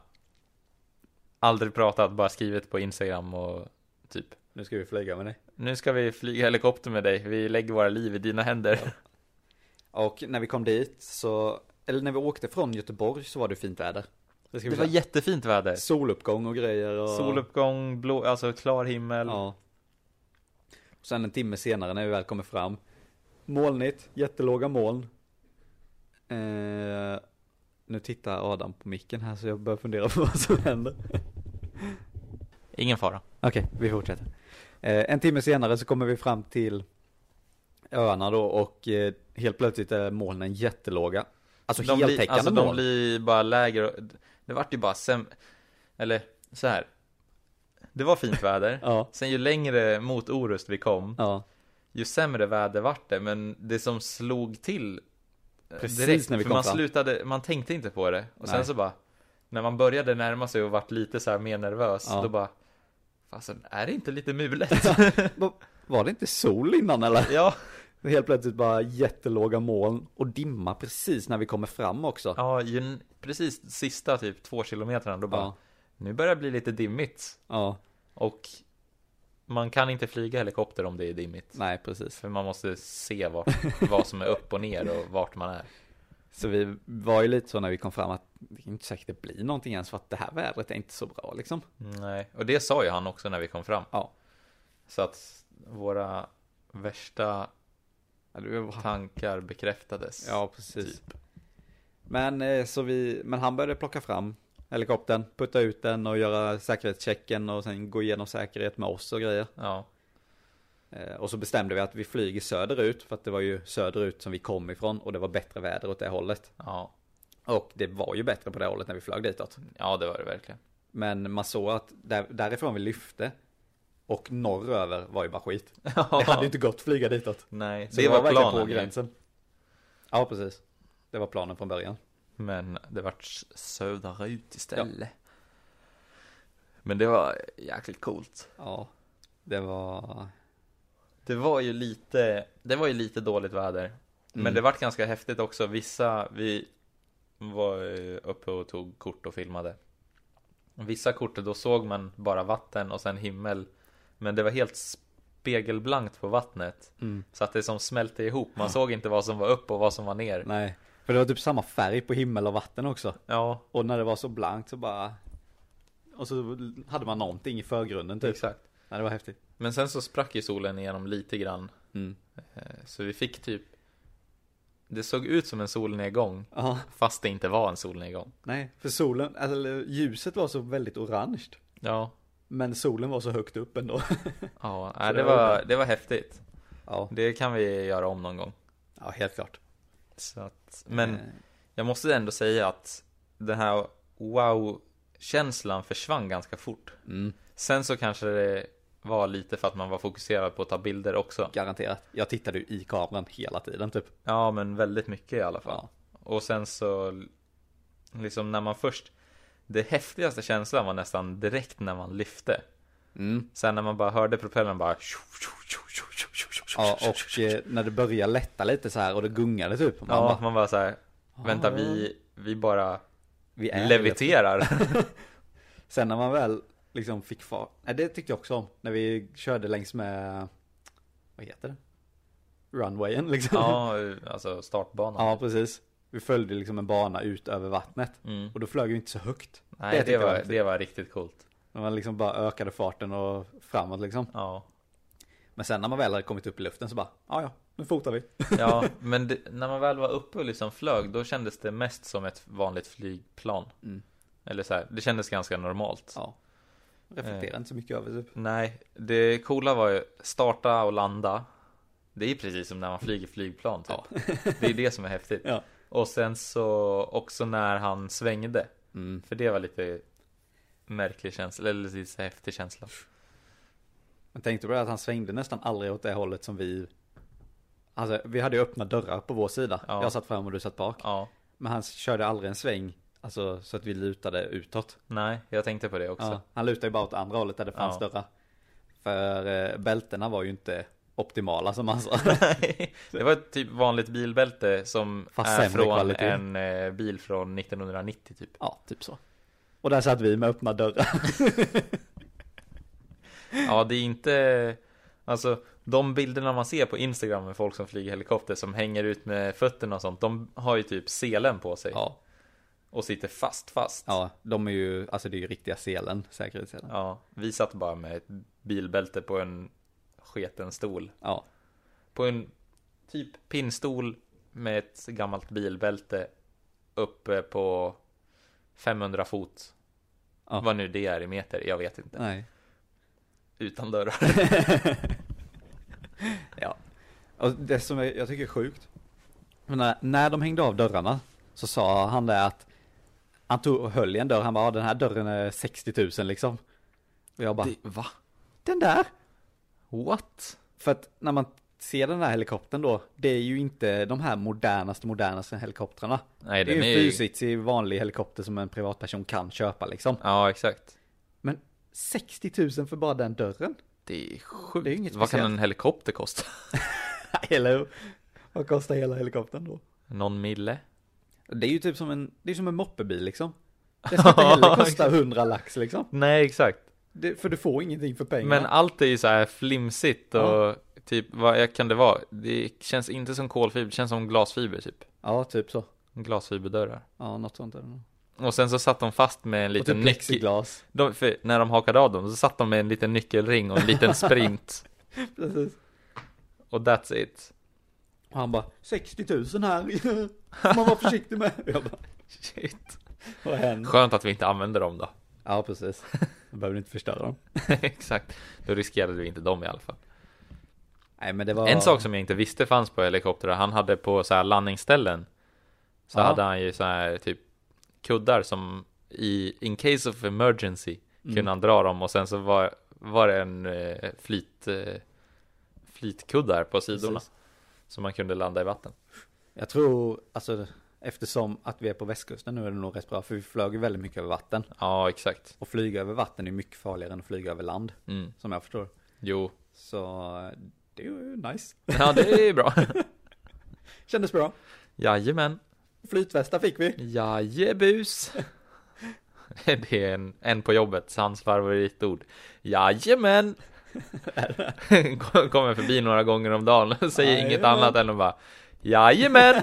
Speaker 1: Aldrig pratat, bara skrivit på Instagram och typ...
Speaker 2: Nu ska vi flyga med dig.
Speaker 1: Nu ska vi flyga helikopter med dig. Vi lägger våra liv i dina händer.
Speaker 2: Och när vi kom dit så, eller när vi åkte från Göteborg så var det fint väder. Det, ska
Speaker 1: Det
Speaker 2: vi
Speaker 1: var
Speaker 2: säga.
Speaker 1: jättefint väder.
Speaker 2: Soluppgång och grejer och...
Speaker 1: Soluppgång, blå, alltså klar himmel.
Speaker 2: Ja. Och sen en timme senare när vi väl kommer fram. Molnigt, jättelåga moln. Eh, nu tittar Adam på micken här så jag börjar fundera på vad som händer.
Speaker 1: Ingen fara.
Speaker 2: Okej, vi fortsätter. Eh, en timme senare så kommer vi fram till öarna då och eh, helt plötsligt är molnen jättelåga. Alltså
Speaker 1: de blir,
Speaker 2: heltäckande
Speaker 1: alltså,
Speaker 2: moln.
Speaker 1: de blir bara lägre. och- Det vart ju bara säm... Eller så här. Det var fint väder.
Speaker 2: Ja,
Speaker 1: Sen ju längre mot Orust vi kom,
Speaker 2: ja.
Speaker 1: ju sämre väder vart det. Men det som slog till eh,
Speaker 2: Precis när vi
Speaker 1: för
Speaker 2: kom
Speaker 1: man
Speaker 2: fram.
Speaker 1: slutade, man tänkte inte på det. Och sen
Speaker 2: Nej.
Speaker 1: så bara, när man började närma sig och vart lite så här mer nervös,
Speaker 2: Ja.
Speaker 1: då bara, fasen är det inte lite mulet?
Speaker 2: Va- Var det inte sol innan eller?
Speaker 1: ja.
Speaker 2: Helt plötsligt bara jättelåga moln och dimma precis när vi kommer fram också.
Speaker 1: ja, ju, precis sista typ två kilometrarna, då bara,
Speaker 2: Ja.
Speaker 1: nu börjar det bli lite dimmigt.
Speaker 2: Ja,
Speaker 1: Och man kan inte flyga helikopter om det är dimmigt.
Speaker 2: nej precis.
Speaker 1: För man måste se vad, vad som är upp och ner och vart man är.
Speaker 2: Så vi var ju lite så när vi kom fram att det är inte säkert det blir någonting ens för att det här vädret är inte så bra liksom.
Speaker 1: Nej, och det sa ju han också när vi kom fram.
Speaker 2: Ja.
Speaker 1: Så att våra värsta
Speaker 2: Ja, det var-
Speaker 1: tankar bekräftades.
Speaker 2: Ja, precis.
Speaker 1: Typ.
Speaker 2: Men, eh, så vi, men han började plocka fram helikoptern, putta ut den och göra säkerhetschecken och sen gå igenom säkerhet med oss och grejer.
Speaker 1: Ja,
Speaker 2: Eh, Och så bestämde vi att vi flyger söderut för att det var ju söderut som vi kom ifrån och det var bättre väder åt det hållet.
Speaker 1: ja,
Speaker 2: Och det var ju bättre på det hållet när vi flög ditåt.
Speaker 1: ja, det var det verkligen.
Speaker 2: Men man såg att där, därifrån vi lyfte och norröver var ju bara skit. Det hade ju inte gått att flyga ditåt.
Speaker 1: Nej,
Speaker 2: Så
Speaker 1: det var
Speaker 2: verkligen
Speaker 1: planen.
Speaker 2: på
Speaker 1: ju.
Speaker 2: gränsen. Ja, precis. Det var planen från början.
Speaker 1: Men det vart söderut istället. Men det var jäkligt coolt.
Speaker 2: Ja, det var...
Speaker 1: Det var ju lite, det var ju lite dåligt väder. Men
Speaker 2: Mm.
Speaker 1: det vart ganska häftigt också. Vissa, vi var ju uppe och tog kort och filmade. Vissa kort, då såg man bara vatten och sen himmel. Men det var helt
Speaker 2: Mm.
Speaker 1: spegelblankt på vattnet. Så att det som smälte ihop. Man såg inte vad som var upp och vad som var ner.
Speaker 2: Nej, För det var typ samma färg på himmel och vatten också.
Speaker 1: Ja,
Speaker 2: Och när det var så blankt så bara... Och så hade man någonting i förgrunden typ.
Speaker 1: exakt.
Speaker 2: Ja, det var häftigt.
Speaker 1: Men sen så sprack ju solen igenom lite grann.
Speaker 2: Mm.
Speaker 1: Eh, Så vi fick typ Det såg ut som en solnedgång
Speaker 2: Ja,
Speaker 1: fast det inte var en solnedgång.
Speaker 2: nej. För solen, alltså, eller ljuset var så väldigt orange.
Speaker 1: Ja,
Speaker 2: Men solen var så högt upp ändå.
Speaker 1: ja
Speaker 2: Så
Speaker 1: nej,
Speaker 2: det
Speaker 1: det, var,
Speaker 2: var bra.
Speaker 1: det var häftigt.
Speaker 2: Ja,
Speaker 1: Det kan vi göra om någon gång.
Speaker 2: ja helt klart.
Speaker 1: Så att, men
Speaker 2: Eh,
Speaker 1: jag måste ändå säga att den här wow-känslan försvann ganska fort.
Speaker 2: Mm,
Speaker 1: Sen så kanske det var lite för att man var fokuserad på att ta bilder också.
Speaker 2: garanterat. Jag tittade ju i kameran hela tiden typ.
Speaker 1: Ja, men väldigt mycket i alla fall.
Speaker 2: Ja.
Speaker 1: Och sen så, liksom när man först, det häftigaste känslan var nästan direkt när man lyfte.
Speaker 2: Mm.
Speaker 1: Sen när man bara hörde propellern bara
Speaker 2: Ja, och eh, när det började lätta lite så här och det gungade typ. Man
Speaker 1: ja,
Speaker 2: bara,
Speaker 1: man bara så här, vänta
Speaker 2: "Ah,
Speaker 1: vi, vi bara
Speaker 2: vi är
Speaker 1: leviterar.
Speaker 2: Sen när man väl liksom fick fart, nej det tyckte jag också om, när vi körde längs med, vad heter det? Runwayen liksom.
Speaker 1: ja, alltså startbanan.
Speaker 2: Ja, precis. Vi följde liksom en bana ut över vattnet
Speaker 1: Mm.
Speaker 2: och då flög vi inte så högt.
Speaker 1: Nej,
Speaker 2: tyckte
Speaker 1: det
Speaker 2: jag var
Speaker 1: var,
Speaker 2: häftigt.
Speaker 1: det var riktigt coolt.
Speaker 2: När man liksom bara ökade farten och framåt liksom.
Speaker 1: Ja,
Speaker 2: Men sen när man väl hade kommit upp i luften så bara, ja ja, nu fotar vi.
Speaker 1: ja men det, när man väl var uppe och liksom flög, då kändes det mest som ett vanligt flygplan.
Speaker 2: Mm.
Speaker 1: Eller så här, det kändes ganska normalt.
Speaker 2: Ja. Reflekterar inte så mycket över typ.
Speaker 1: Nej, det coola var ju starta och landa. Det är precis som när man flyger flygplan typ. Det är det som är häftigt.
Speaker 2: Ja.
Speaker 1: Och sen så också när han svängde.
Speaker 2: Mm.
Speaker 1: För det var lite märklig känsla, eller lite så häftig känsla.
Speaker 2: Men tänkte på det att han svängde nästan aldrig åt det hållet som vi, alltså vi hade ju öppna dörrar på vår sida.
Speaker 1: Ja.
Speaker 2: Jag satt fram och du satt bak.
Speaker 1: Ja,
Speaker 2: Men han körde aldrig en sväng, alltså så att vi lutade utåt.
Speaker 1: nej, jag tänkte på det också.
Speaker 2: Ja, han lutade ju bara åt andra hållet där det fanns
Speaker 1: Ja.
Speaker 2: dörrar. För eh, bältena var ju inte optimala som han sa.
Speaker 1: Nej, det var ett typ vanligt bilbälte som
Speaker 2: Fast
Speaker 1: är
Speaker 2: sämre
Speaker 1: från
Speaker 2: kvalitet.
Speaker 1: en eh, bil från 1990 typ.
Speaker 2: ja, typ så. Och där satt vi med öppna dörrar.
Speaker 1: Ja, det är inte... Alltså, de bilderna man ser på Instagram med folk som flyger helikopter som hänger ut med fötterna och sånt, de har ju typ selen på sig
Speaker 2: Ja,
Speaker 1: och sitter fast, fast.
Speaker 2: ja, de är ju, alltså det är ju riktiga selen, säkerhetsselen.
Speaker 1: Ja, vi satt bara med ett bilbälte på en sketen stol.
Speaker 2: Ja,
Speaker 1: På en typ pinnstol med ett gammalt bilbälte uppe på 500 fot.
Speaker 2: Ja.
Speaker 1: Vad nu det är i meter, jag vet inte.
Speaker 2: nej.
Speaker 1: Utan dörrar.
Speaker 2: ja. Och det som jag, jag tycker är sjukt. Men när, när de hängde av dörrarna så sa han det att han tog och höll i en dörr. Han bara, "Ja, den här dörren är 60 000 liksom. Och jag bara,
Speaker 1: va?
Speaker 2: den där?
Speaker 1: What?
Speaker 2: För att när man ser den här helikoptern då, det är ju inte de här modernaste, modernaste helikoptrarna.
Speaker 1: Nej,
Speaker 2: det är
Speaker 1: den
Speaker 2: ju
Speaker 1: är
Speaker 2: en
Speaker 1: ju...
Speaker 2: fyritsig vanlig helikopter som en privatperson kan köpa liksom.
Speaker 1: Ja, exakt.
Speaker 2: Men 60 000 för bara den dörren?
Speaker 1: Det är sjukt.
Speaker 2: Det är ju inget
Speaker 1: Vad kan
Speaker 2: speciellt.
Speaker 1: en helikopter kosta?
Speaker 2: Eller hur? Vad kostar hela helikoptern då?
Speaker 1: Någon mille?
Speaker 2: Det är ju typ som en, det är som en moppebil liksom. Det ska inte heller kosta 100 lax liksom.
Speaker 1: Nej, exakt.
Speaker 2: Det, för du får ingenting för pengarna.
Speaker 1: Men allt är ju så här flimsigt och
Speaker 2: Ja.
Speaker 1: typ, vad kan det vara? Det känns inte som kolfiber, det känns som glasfiber typ.
Speaker 2: Ja, typ så.
Speaker 1: Glasfiberdörrar.
Speaker 2: Ja, något sånt. Eller något.
Speaker 1: Och sen så satt de fast med en
Speaker 2: Och
Speaker 1: liten
Speaker 2: typ
Speaker 1: nyckel.
Speaker 2: plexiglas.
Speaker 1: De, för när de hakade av dem så satt de med en liten nyckelring och en liten sprint.
Speaker 2: Precis.
Speaker 1: och that's it.
Speaker 2: Och han bara, 60 000 här. Man var försiktig med. Jag bara,
Speaker 1: Shit.
Speaker 2: vad händer?
Speaker 1: Skönt att vi inte använde dem då.
Speaker 2: Ja, precis. Jag behöver inte förstöra dem.
Speaker 1: Exakt. Då riskerade vi inte dem i alla fall.
Speaker 2: Nej, men det var...
Speaker 1: En sak som jag inte visste fanns på helikoptrar, han hade på så här landningsställen Så
Speaker 2: Ja.
Speaker 1: hade han ju så här typ kuddar som i in case of emergency
Speaker 2: Mm.
Speaker 1: kunde han dra dem och sen så var, var det en eh, flyt, eh, flytkuddar på sidorna
Speaker 2: Precis.
Speaker 1: som man kunde landa i vatten.
Speaker 2: Jag tror, alltså, eftersom att vi är på västkusten nu är det nog rätt bra, för vi flög ju väldigt mycket över vatten.
Speaker 1: Ja, exakt.
Speaker 2: Och flyga över vatten är mycket farligare än att flyga över land,
Speaker 1: Mm.
Speaker 2: som jag förstår.
Speaker 1: Jo,
Speaker 2: Så det är ju nice.
Speaker 1: ja det är bra.
Speaker 2: Kändes bra.
Speaker 1: Jajamän,
Speaker 2: Flytvästar fick vi.
Speaker 1: jajebus. Det är en, en på jobbet, hans favoritord. Jajamän! Kommer förbi några gånger om dagen och säger inget
Speaker 2: Jajamän.
Speaker 1: annat än att bara Jajamän!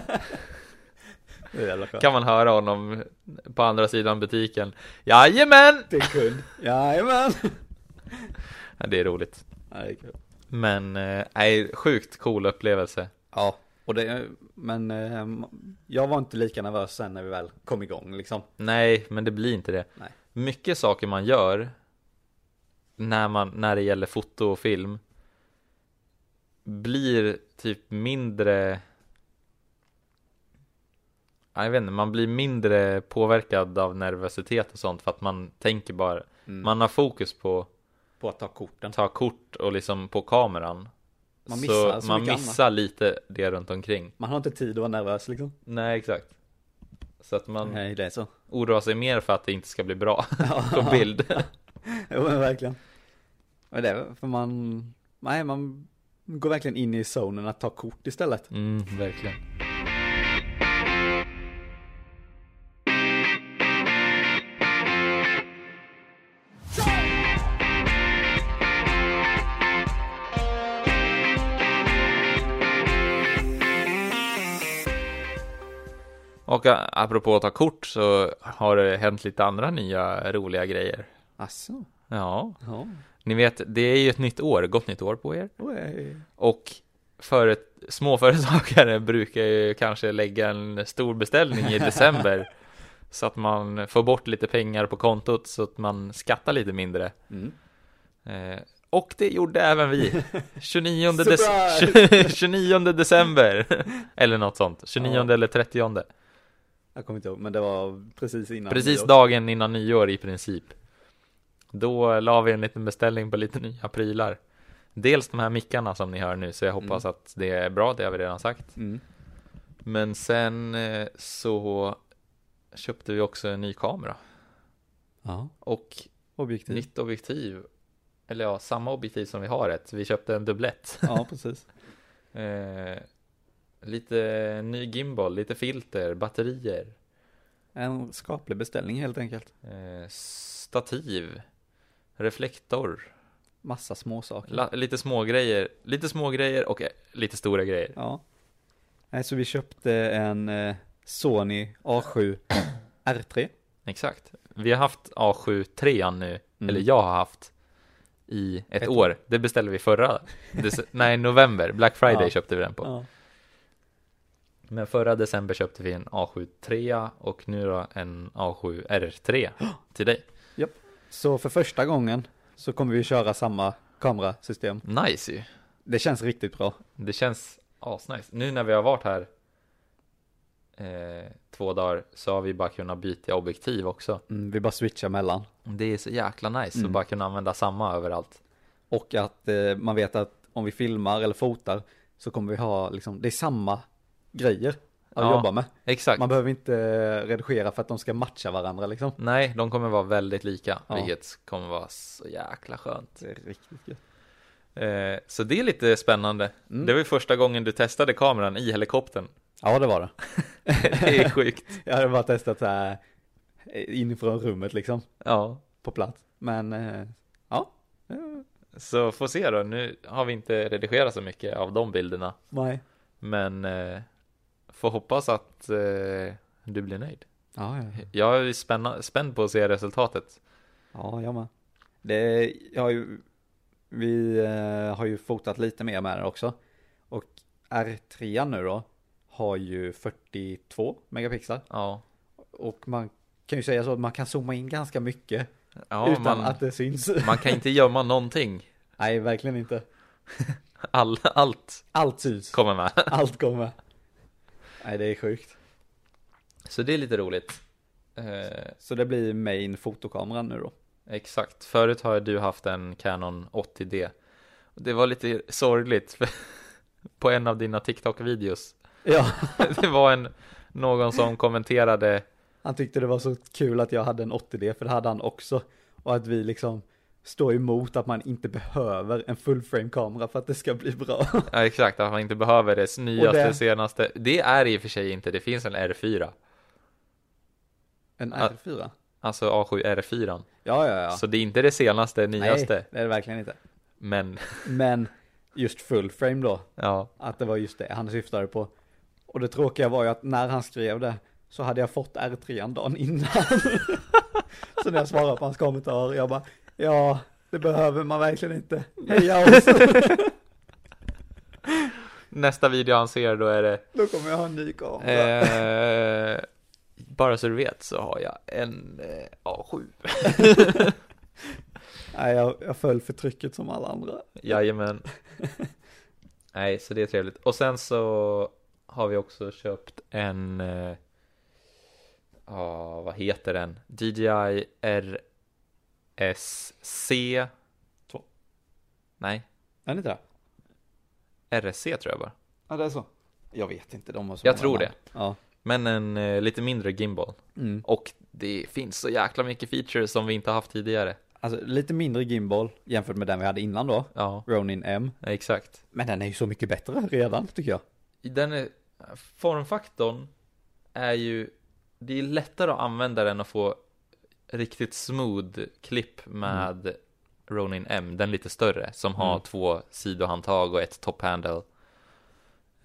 Speaker 2: Det är jävla skönt.
Speaker 1: Kan man höra honom på andra sidan butiken Jajamän!
Speaker 2: Det är kund. Jajamän.
Speaker 1: Ja, det är roligt
Speaker 2: Ja, det är kul.
Speaker 1: Men, eh, nej, sjukt cool upplevelse
Speaker 2: Ja, och det, men eh, jag var inte lika nervös sen när vi väl kom igång liksom.
Speaker 1: Nej, men det blir inte det
Speaker 2: Nej.
Speaker 1: Mycket saker man gör när, man, när det gäller foto och film blir typ mindre Ja, Jag vet inte, man blir mindre påverkad av nervositet och sånt för att man tänker bara
Speaker 2: Mm.
Speaker 1: Man har fokus på
Speaker 2: På att ta korten.
Speaker 1: ta kort och liksom på kameran.
Speaker 2: Man missar så
Speaker 1: man
Speaker 2: mycket
Speaker 1: missar lite det runt omkring.
Speaker 2: Man har inte tid att vara nervös liksom.
Speaker 1: Nej, exakt. Så att man
Speaker 2: Nej, det är så.
Speaker 1: oroar sig mer för att det inte ska bli bra på bild.
Speaker 2: Jo men verkligen. Och det är för man, nej man går verkligen in i zonen att ta kort istället.
Speaker 1: Mm, verkligen. Och ä, apropå att ta kort så har det hänt lite andra nya roliga grejer.
Speaker 2: Asså?
Speaker 1: Ja,
Speaker 2: Ja.
Speaker 1: ni vet, det är ju ett nytt år, gott nytt år på er.
Speaker 2: Oj.
Speaker 1: Och för småföretagare brukar ju kanske lägga en stor beställning i december så att man får bort lite pengar på kontot så att man skattar lite mindre.
Speaker 2: Mm.
Speaker 1: Eh, och det gjorde även vi. 29,
Speaker 2: Surprise!
Speaker 1: dec- 29 december. Eller något sånt. 29
Speaker 2: Ja.
Speaker 1: eller 30.
Speaker 2: Jag kommer inte ihåg, men det var precis innan.
Speaker 1: Precis
Speaker 2: nyår.
Speaker 1: dagen innan nyår i princip. Då la vi en liten beställning på lite nya prylar. Dels de här mickarna som ni hör nu, så jag hoppas att det är bra, det har vi redan sagt.
Speaker 2: Mm.
Speaker 1: Men sen eh, så köpte vi också en ny kamera
Speaker 2: Ja,
Speaker 1: och
Speaker 2: objektiv.
Speaker 1: nytt objektiv. Eller ja, samma objektiv som vi har ett. Vi köpte en dubblett.
Speaker 2: Ja, precis.
Speaker 1: Eh, lite ny gimbal, lite filter, batterier,
Speaker 2: En skaplig beställning helt enkelt.
Speaker 1: eh, stativ, reflektor,
Speaker 2: Massa småsaker.
Speaker 1: la, lite små grejer, lite små grejer och eh, lite stora grejer.
Speaker 2: Ja. Nej, så vi köpte en eh, Sony A7 R3.
Speaker 1: Exakt. Vi har haft A7 3 nu,
Speaker 2: Mm.
Speaker 1: eller jag har haft i ett,
Speaker 2: Ett
Speaker 1: år. Det beställde vi förra, dec- nej november, Black Friday
Speaker 2: Ja.
Speaker 1: köpte vi den på.
Speaker 2: Ja.
Speaker 1: Men förra december köpte vi en A7 3 och nu då en A7 R3 till dig.
Speaker 2: Så för första gången så kommer vi köra samma kamerasystem.
Speaker 1: Nice ju.
Speaker 2: Det känns riktigt bra.
Speaker 1: Det känns asnice. Nu när vi har varit här eh, två dagar så har vi bara kunnat byta objektiv också.
Speaker 2: Mm, vi bara switchar mellan.
Speaker 1: Det är så jäkla nice
Speaker 2: Mm.
Speaker 1: att bara kunna använda samma överallt.
Speaker 2: Och att eh, man vet att om vi filmar eller fotar så kommer vi ha liksom, det är samma grejer att
Speaker 1: Ja,
Speaker 2: jobba med.
Speaker 1: Exakt.
Speaker 2: Man behöver inte eh, redigera för att de ska matcha varandra liksom.
Speaker 1: Nej, de kommer vara väldigt lika,
Speaker 2: Ja.
Speaker 1: vilket kommer vara så jäkla skönt.
Speaker 2: Det är riktigt gött.
Speaker 1: Eh, så det är lite spännande.
Speaker 2: Mm.
Speaker 1: Det var ju första gången du testade kameran i helikoptern.
Speaker 2: Ja, det var det.
Speaker 1: det är sjukt.
Speaker 2: Jag hade bara testat så här eh, inifrån rummet liksom,
Speaker 1: Ja,
Speaker 2: på plats. Men eh, ja,
Speaker 1: så får se då. Nu har vi inte redigerat så mycket av de bilderna,
Speaker 2: nej.
Speaker 1: men eh, får hoppas att eh, du blir nöjd.
Speaker 2: Ja, ja.
Speaker 1: Jag är ju spänna, spänd på att se resultatet.
Speaker 2: ja jag med. Det, jag har ju, vi eh, har ju fotat lite mer med det också. Och R3 nu då har ju 42 megapixlar.
Speaker 1: Ja,
Speaker 2: Och man kan ju säga så att man kan zooma in ganska mycket
Speaker 1: ja
Speaker 2: utan
Speaker 1: man,
Speaker 2: att det syns.
Speaker 1: man kan inte gömma någonting.
Speaker 2: Nej, verkligen inte.
Speaker 1: All, allt
Speaker 2: Allt syns.
Speaker 1: kommer med.
Speaker 2: Allt kommer. Nej, det är sjukt.
Speaker 1: Så det är lite roligt. Eh,
Speaker 2: Så det blir main fotokameran nu då.
Speaker 1: Exakt, förut har du haft en Canon 80D. Det var lite sorgligt för på en av dina TikTok-videos.
Speaker 2: Ja,
Speaker 1: Det var en, någon som kommenterade,
Speaker 2: han tyckte det var så kul att jag hade en 80D, för det hade han också. Och att vi liksom står emot att man inte behöver en full frame kamera för att det ska bli bra.
Speaker 1: ja, exakt, att man inte behöver det nyaste,
Speaker 2: Och det-
Speaker 1: senaste. Det är i och för sig inte, det finns en R4,
Speaker 2: En
Speaker 1: Ja.
Speaker 2: R4?
Speaker 1: alltså A7 R4.
Speaker 2: Ja, ja, ja.
Speaker 1: Så det är inte det senaste,
Speaker 2: Nej,
Speaker 1: nyaste,
Speaker 2: det är det verkligen inte.
Speaker 1: men
Speaker 2: Men just full frame då,
Speaker 1: ja,
Speaker 2: Att det var just det han syftade på. Och det tråkiga var ju att när han skrev det så hade jag fått R3 dagen innan. så när jag svarade på hans kommentar, jag bara, ja, det behöver man verkligen inte. Heja oss!
Speaker 1: Nästa video han ser då är det
Speaker 2: Då kommer jag ha en ny kamera.
Speaker 1: Eh, bara så du vet så har jag en eh, A7.
Speaker 2: Nej, jag, jag föll för trycket som alla andra.
Speaker 1: Jajamän. Nej, så det är trevligt. Och sen så har vi också köpt en, eh, ja, vad heter den? DJI RSC.
Speaker 2: Två.
Speaker 1: Nej,
Speaker 2: Är det inte det?
Speaker 1: RSC tror jag bara.
Speaker 2: Ja, det är så. Jag vet inte, de har så
Speaker 1: Jag
Speaker 2: många
Speaker 1: tror
Speaker 2: namn. Ja.
Speaker 1: Men en eh, lite mindre gimbal.
Speaker 2: Mm.
Speaker 1: Och det finns så jäkla mycket features som vi inte haft tidigare.
Speaker 2: Alltså lite mindre gimbal jämfört med den vi hade innan då,
Speaker 1: Ja,
Speaker 2: Ronin M.
Speaker 1: exakt.
Speaker 2: Men den är ju så mycket bättre redan tycker jag.
Speaker 1: den är, formfaktorn är ju, det är lättare att använda den och få riktigt smooth klipp med Ronin M, den lite större, som har
Speaker 2: Mm.
Speaker 1: två sidohandtag och ett topphandle.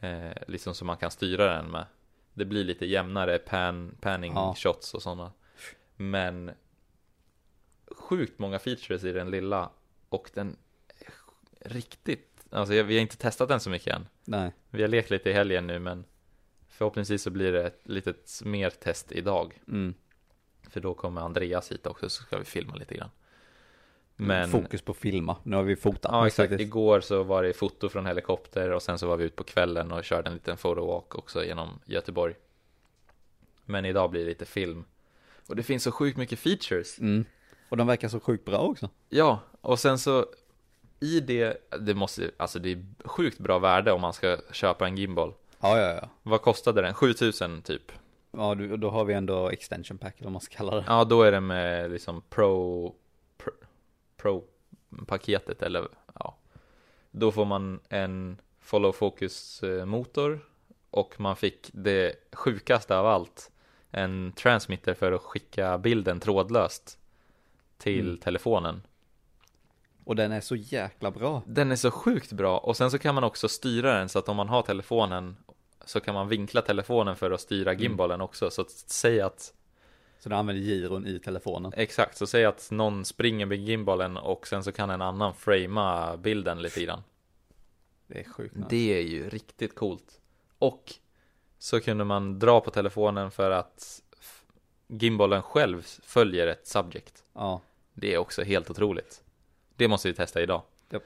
Speaker 1: Eh, liksom så man kan styra den med. Det blir lite jämnare pan, panning
Speaker 2: Ja.
Speaker 1: shots och sådana. Men sjukt många features i den lilla och den är riktigt, alltså jag, vi har inte testat den så mycket än.
Speaker 2: Nej.
Speaker 1: Vi har lekt lite i helgen nu men förhoppningsvis så blir det ett litet mer test idag.
Speaker 2: Mm.
Speaker 1: För då kommer Andreas hit också så ska vi filma lite grann. Men
Speaker 2: Fokus på filma, nu har vi fotat.
Speaker 1: ja,
Speaker 2: nu
Speaker 1: exakt.
Speaker 2: faktiskt.
Speaker 1: igår så var det foto från helikopter och sen så var vi ute på kvällen och körde en liten photowalk också genom Göteborg. Men idag blir det lite film. Och det finns så sjukt mycket features.
Speaker 2: Mm. Och de verkar så sjukt bra också.
Speaker 1: Ja, och sen så i det, det måste, alltså det är sjukt bra värde om man ska köpa en gimbal.
Speaker 2: Ja, ja, ja.
Speaker 1: Vad kostade den? 7000 typ.
Speaker 2: Ja, du, då har vi ändå extension pack eller vad man ska kalla det.
Speaker 1: Ja, då är det med liksom pro, pro, paketet eller ja. Då får man en follow focus eh, motor och man fick det sjukaste av allt. En transmitter för att skicka bilden trådlöst till
Speaker 2: Mm.
Speaker 1: telefonen.
Speaker 2: Och den är så jäkla bra.
Speaker 1: Den är så sjukt bra och sen så kan man också styra den så att om man har telefonen så kan man vinkla telefonen för att styra gimbalen också. Så att säg att
Speaker 2: Så den använder giron i telefonen.
Speaker 1: Exakt, så säg att någon springer med gimbalen och sen så kan en annan framea bilden lite grann.
Speaker 2: Det är sjukt nice.
Speaker 1: Det är ju riktigt coolt. Och så kunde man dra på telefonen för att f- gimbalen själv följer ett subject.
Speaker 2: Ja.
Speaker 1: Det är också helt otroligt. Det måste vi testa idag.
Speaker 2: Japp.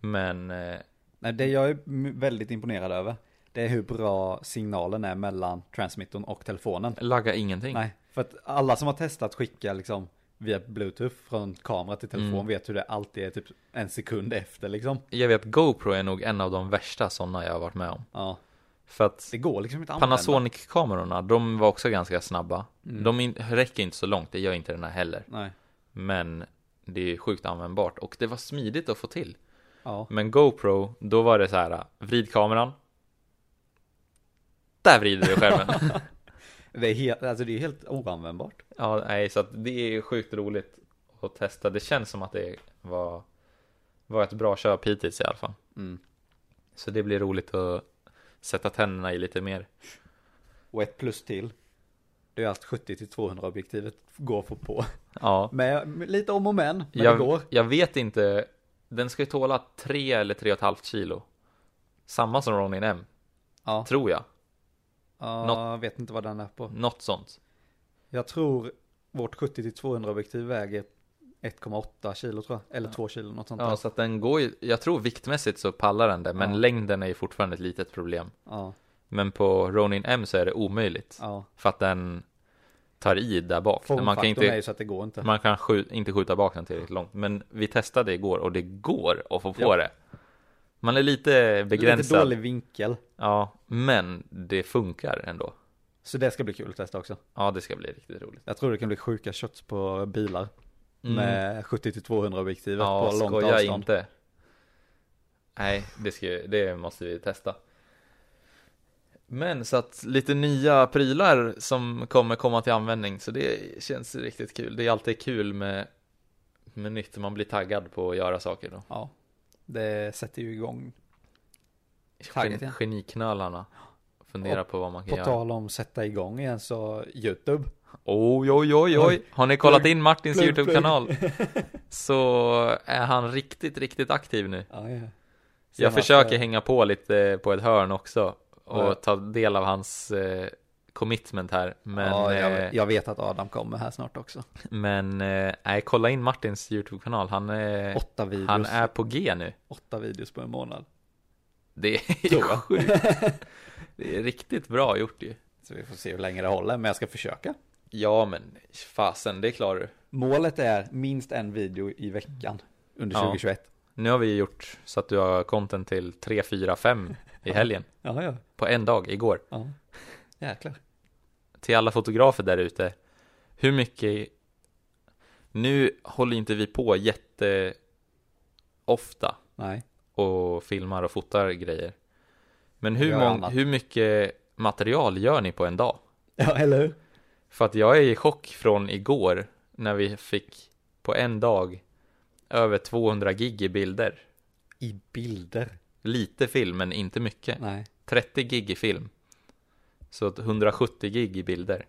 Speaker 1: Men eh,
Speaker 2: Nej, det jag är m- väldigt imponerad över, det är hur bra signalen är mellan transmittorn och telefonen.
Speaker 1: lagga ingenting.
Speaker 2: Nej, för att alla som har testat skicka liksom via bluetooth från kamera till telefon
Speaker 1: Mm.
Speaker 2: vet hur det alltid är typ en sekund efter liksom.
Speaker 1: Jag vet GoPro är nog en av de värsta sådana jag har varit med om.
Speaker 2: Ja,
Speaker 1: För att
Speaker 2: det går liksom inte att använda. Mm.
Speaker 1: Panasonic-kamerorna, de var också ganska snabba. De in- räcker inte så långt, det gör inte den här heller.
Speaker 2: Nej,
Speaker 1: Men det är sjukt användbart och det var smidigt att få till.
Speaker 2: ja,
Speaker 1: Men GoPro, då var det så här, vrid kameran. Där vrider du skärmen.
Speaker 2: det är helt, alltså det är helt oanvändbart.
Speaker 1: ja, nej, så att det är sjukt roligt att testa. Det känns som att det var, var ett bra köp hittills i alla fall.
Speaker 2: Mm.
Speaker 1: Så det blir roligt att sätta tänderna i lite mer.
Speaker 2: Och ett plus till, det är att 70-200 objektivet går att få på.
Speaker 1: Ja.
Speaker 2: Med, med lite om och men, men
Speaker 1: jag,
Speaker 2: det går.
Speaker 1: jag vet inte. Den ska ju tåla 3 eller 3,5 kilo. Samma som Ronin M,
Speaker 2: Ja,
Speaker 1: tror jag.
Speaker 2: ja, jag vet inte vad den är på.
Speaker 1: Något sånt.
Speaker 2: Jag tror vårt 70-200 objektiv väger 1,8 kilo tror jag, eller 2 kilo något sånt
Speaker 1: Ja,
Speaker 2: där.
Speaker 1: så Alltså att den går ju, jag tror viktmässigt så pallar den det, men
Speaker 2: Ja.
Speaker 1: längden är ju fortfarande ett litet problem.
Speaker 2: Ja,
Speaker 1: Men på Ronin M så är det omöjligt.
Speaker 2: ja.
Speaker 1: För att den tar i där bak. Man kan,
Speaker 2: Formfaktorn är
Speaker 1: inte,
Speaker 2: ju så att det går inte.
Speaker 1: man kan skju- inte skjuta bak den tillräckligt långt. Men vi testade igår och det går att få på
Speaker 2: Ja.
Speaker 1: det. Man är lite
Speaker 2: Lite
Speaker 1: begränsad.
Speaker 2: dålig vinkel.
Speaker 1: ja, men det funkar ändå.
Speaker 2: Så det ska bli kul att testa också.
Speaker 1: Ja, det ska bli riktigt roligt.
Speaker 2: Jag tror det kan bli sjuka shots på bilar.
Speaker 1: Mm.
Speaker 2: Med 70-200 objektivet
Speaker 1: Ja,
Speaker 2: på långt
Speaker 1: skoja
Speaker 2: avstånd.
Speaker 1: inte. Nej, det, ska, det måste vi testa. Men så att lite nya prylar som kommer komma till användning, så det känns riktigt kul. Det är alltid kul med, med nytt, man blir taggad på att göra saker då.
Speaker 2: Ja, det sätter ju igång. Taggad,
Speaker 1: Gen,
Speaker 2: ja.
Speaker 1: geniknölarna Fundera på vad man kan
Speaker 2: På
Speaker 1: göra.
Speaker 2: tal om sätta igång igen så YouTube.
Speaker 1: Oj, oj, oj, oj.
Speaker 2: Oj.
Speaker 1: Har ni kollat
Speaker 2: Plugg,
Speaker 1: in Martins
Speaker 2: plugg,
Speaker 1: YouTube-kanal så är han riktigt, riktigt aktiv nu.
Speaker 2: Ja, ja.
Speaker 1: Jag
Speaker 2: Senast,
Speaker 1: försöker
Speaker 2: eh,
Speaker 1: hänga på lite på ett hörn också och
Speaker 2: Ja.
Speaker 1: ta del av hans eh, commitment här. Men,
Speaker 2: ja,
Speaker 1: eh,
Speaker 2: jag, jag vet att Adam kommer här snart också.
Speaker 1: men eh, nej, kolla in Martins YouTube-kanal. Han, eh,
Speaker 2: Åtta videos,
Speaker 1: han är på G nu.
Speaker 2: åtta videos på en månad.
Speaker 1: Det är
Speaker 2: Tror jag.
Speaker 1: sjukt. Det är riktigt bra gjort ju.
Speaker 2: Så vi får se hur länge det håller, men jag ska försöka.
Speaker 1: Ja, men fasen, det klarar du.
Speaker 2: Målet är minst en video i veckan under
Speaker 1: Ja.
Speaker 2: 2021.
Speaker 1: Nu har vi gjort så att du har content till 3, 4, 5 i helgen.
Speaker 2: Ja, ja.
Speaker 1: På en dag, igår.
Speaker 2: ja. Jäklar.
Speaker 1: till alla fotografer där ute. Hur mycket... Nu håller inte vi på jätte ofta
Speaker 2: Nej.
Speaker 1: och filmar och fotar grejer. Men hur,
Speaker 2: gör
Speaker 1: mång,
Speaker 2: annat.
Speaker 1: hur mycket material gör ni på en dag?
Speaker 2: Ja, eller hur?
Speaker 1: För att jag är i chock från igår när vi fick på en dag över 200 gig i bilder.
Speaker 2: I bilder.
Speaker 1: Lite film men inte mycket.
Speaker 2: Nej.
Speaker 1: 30 gig i film. Så att 170 gig i bilder.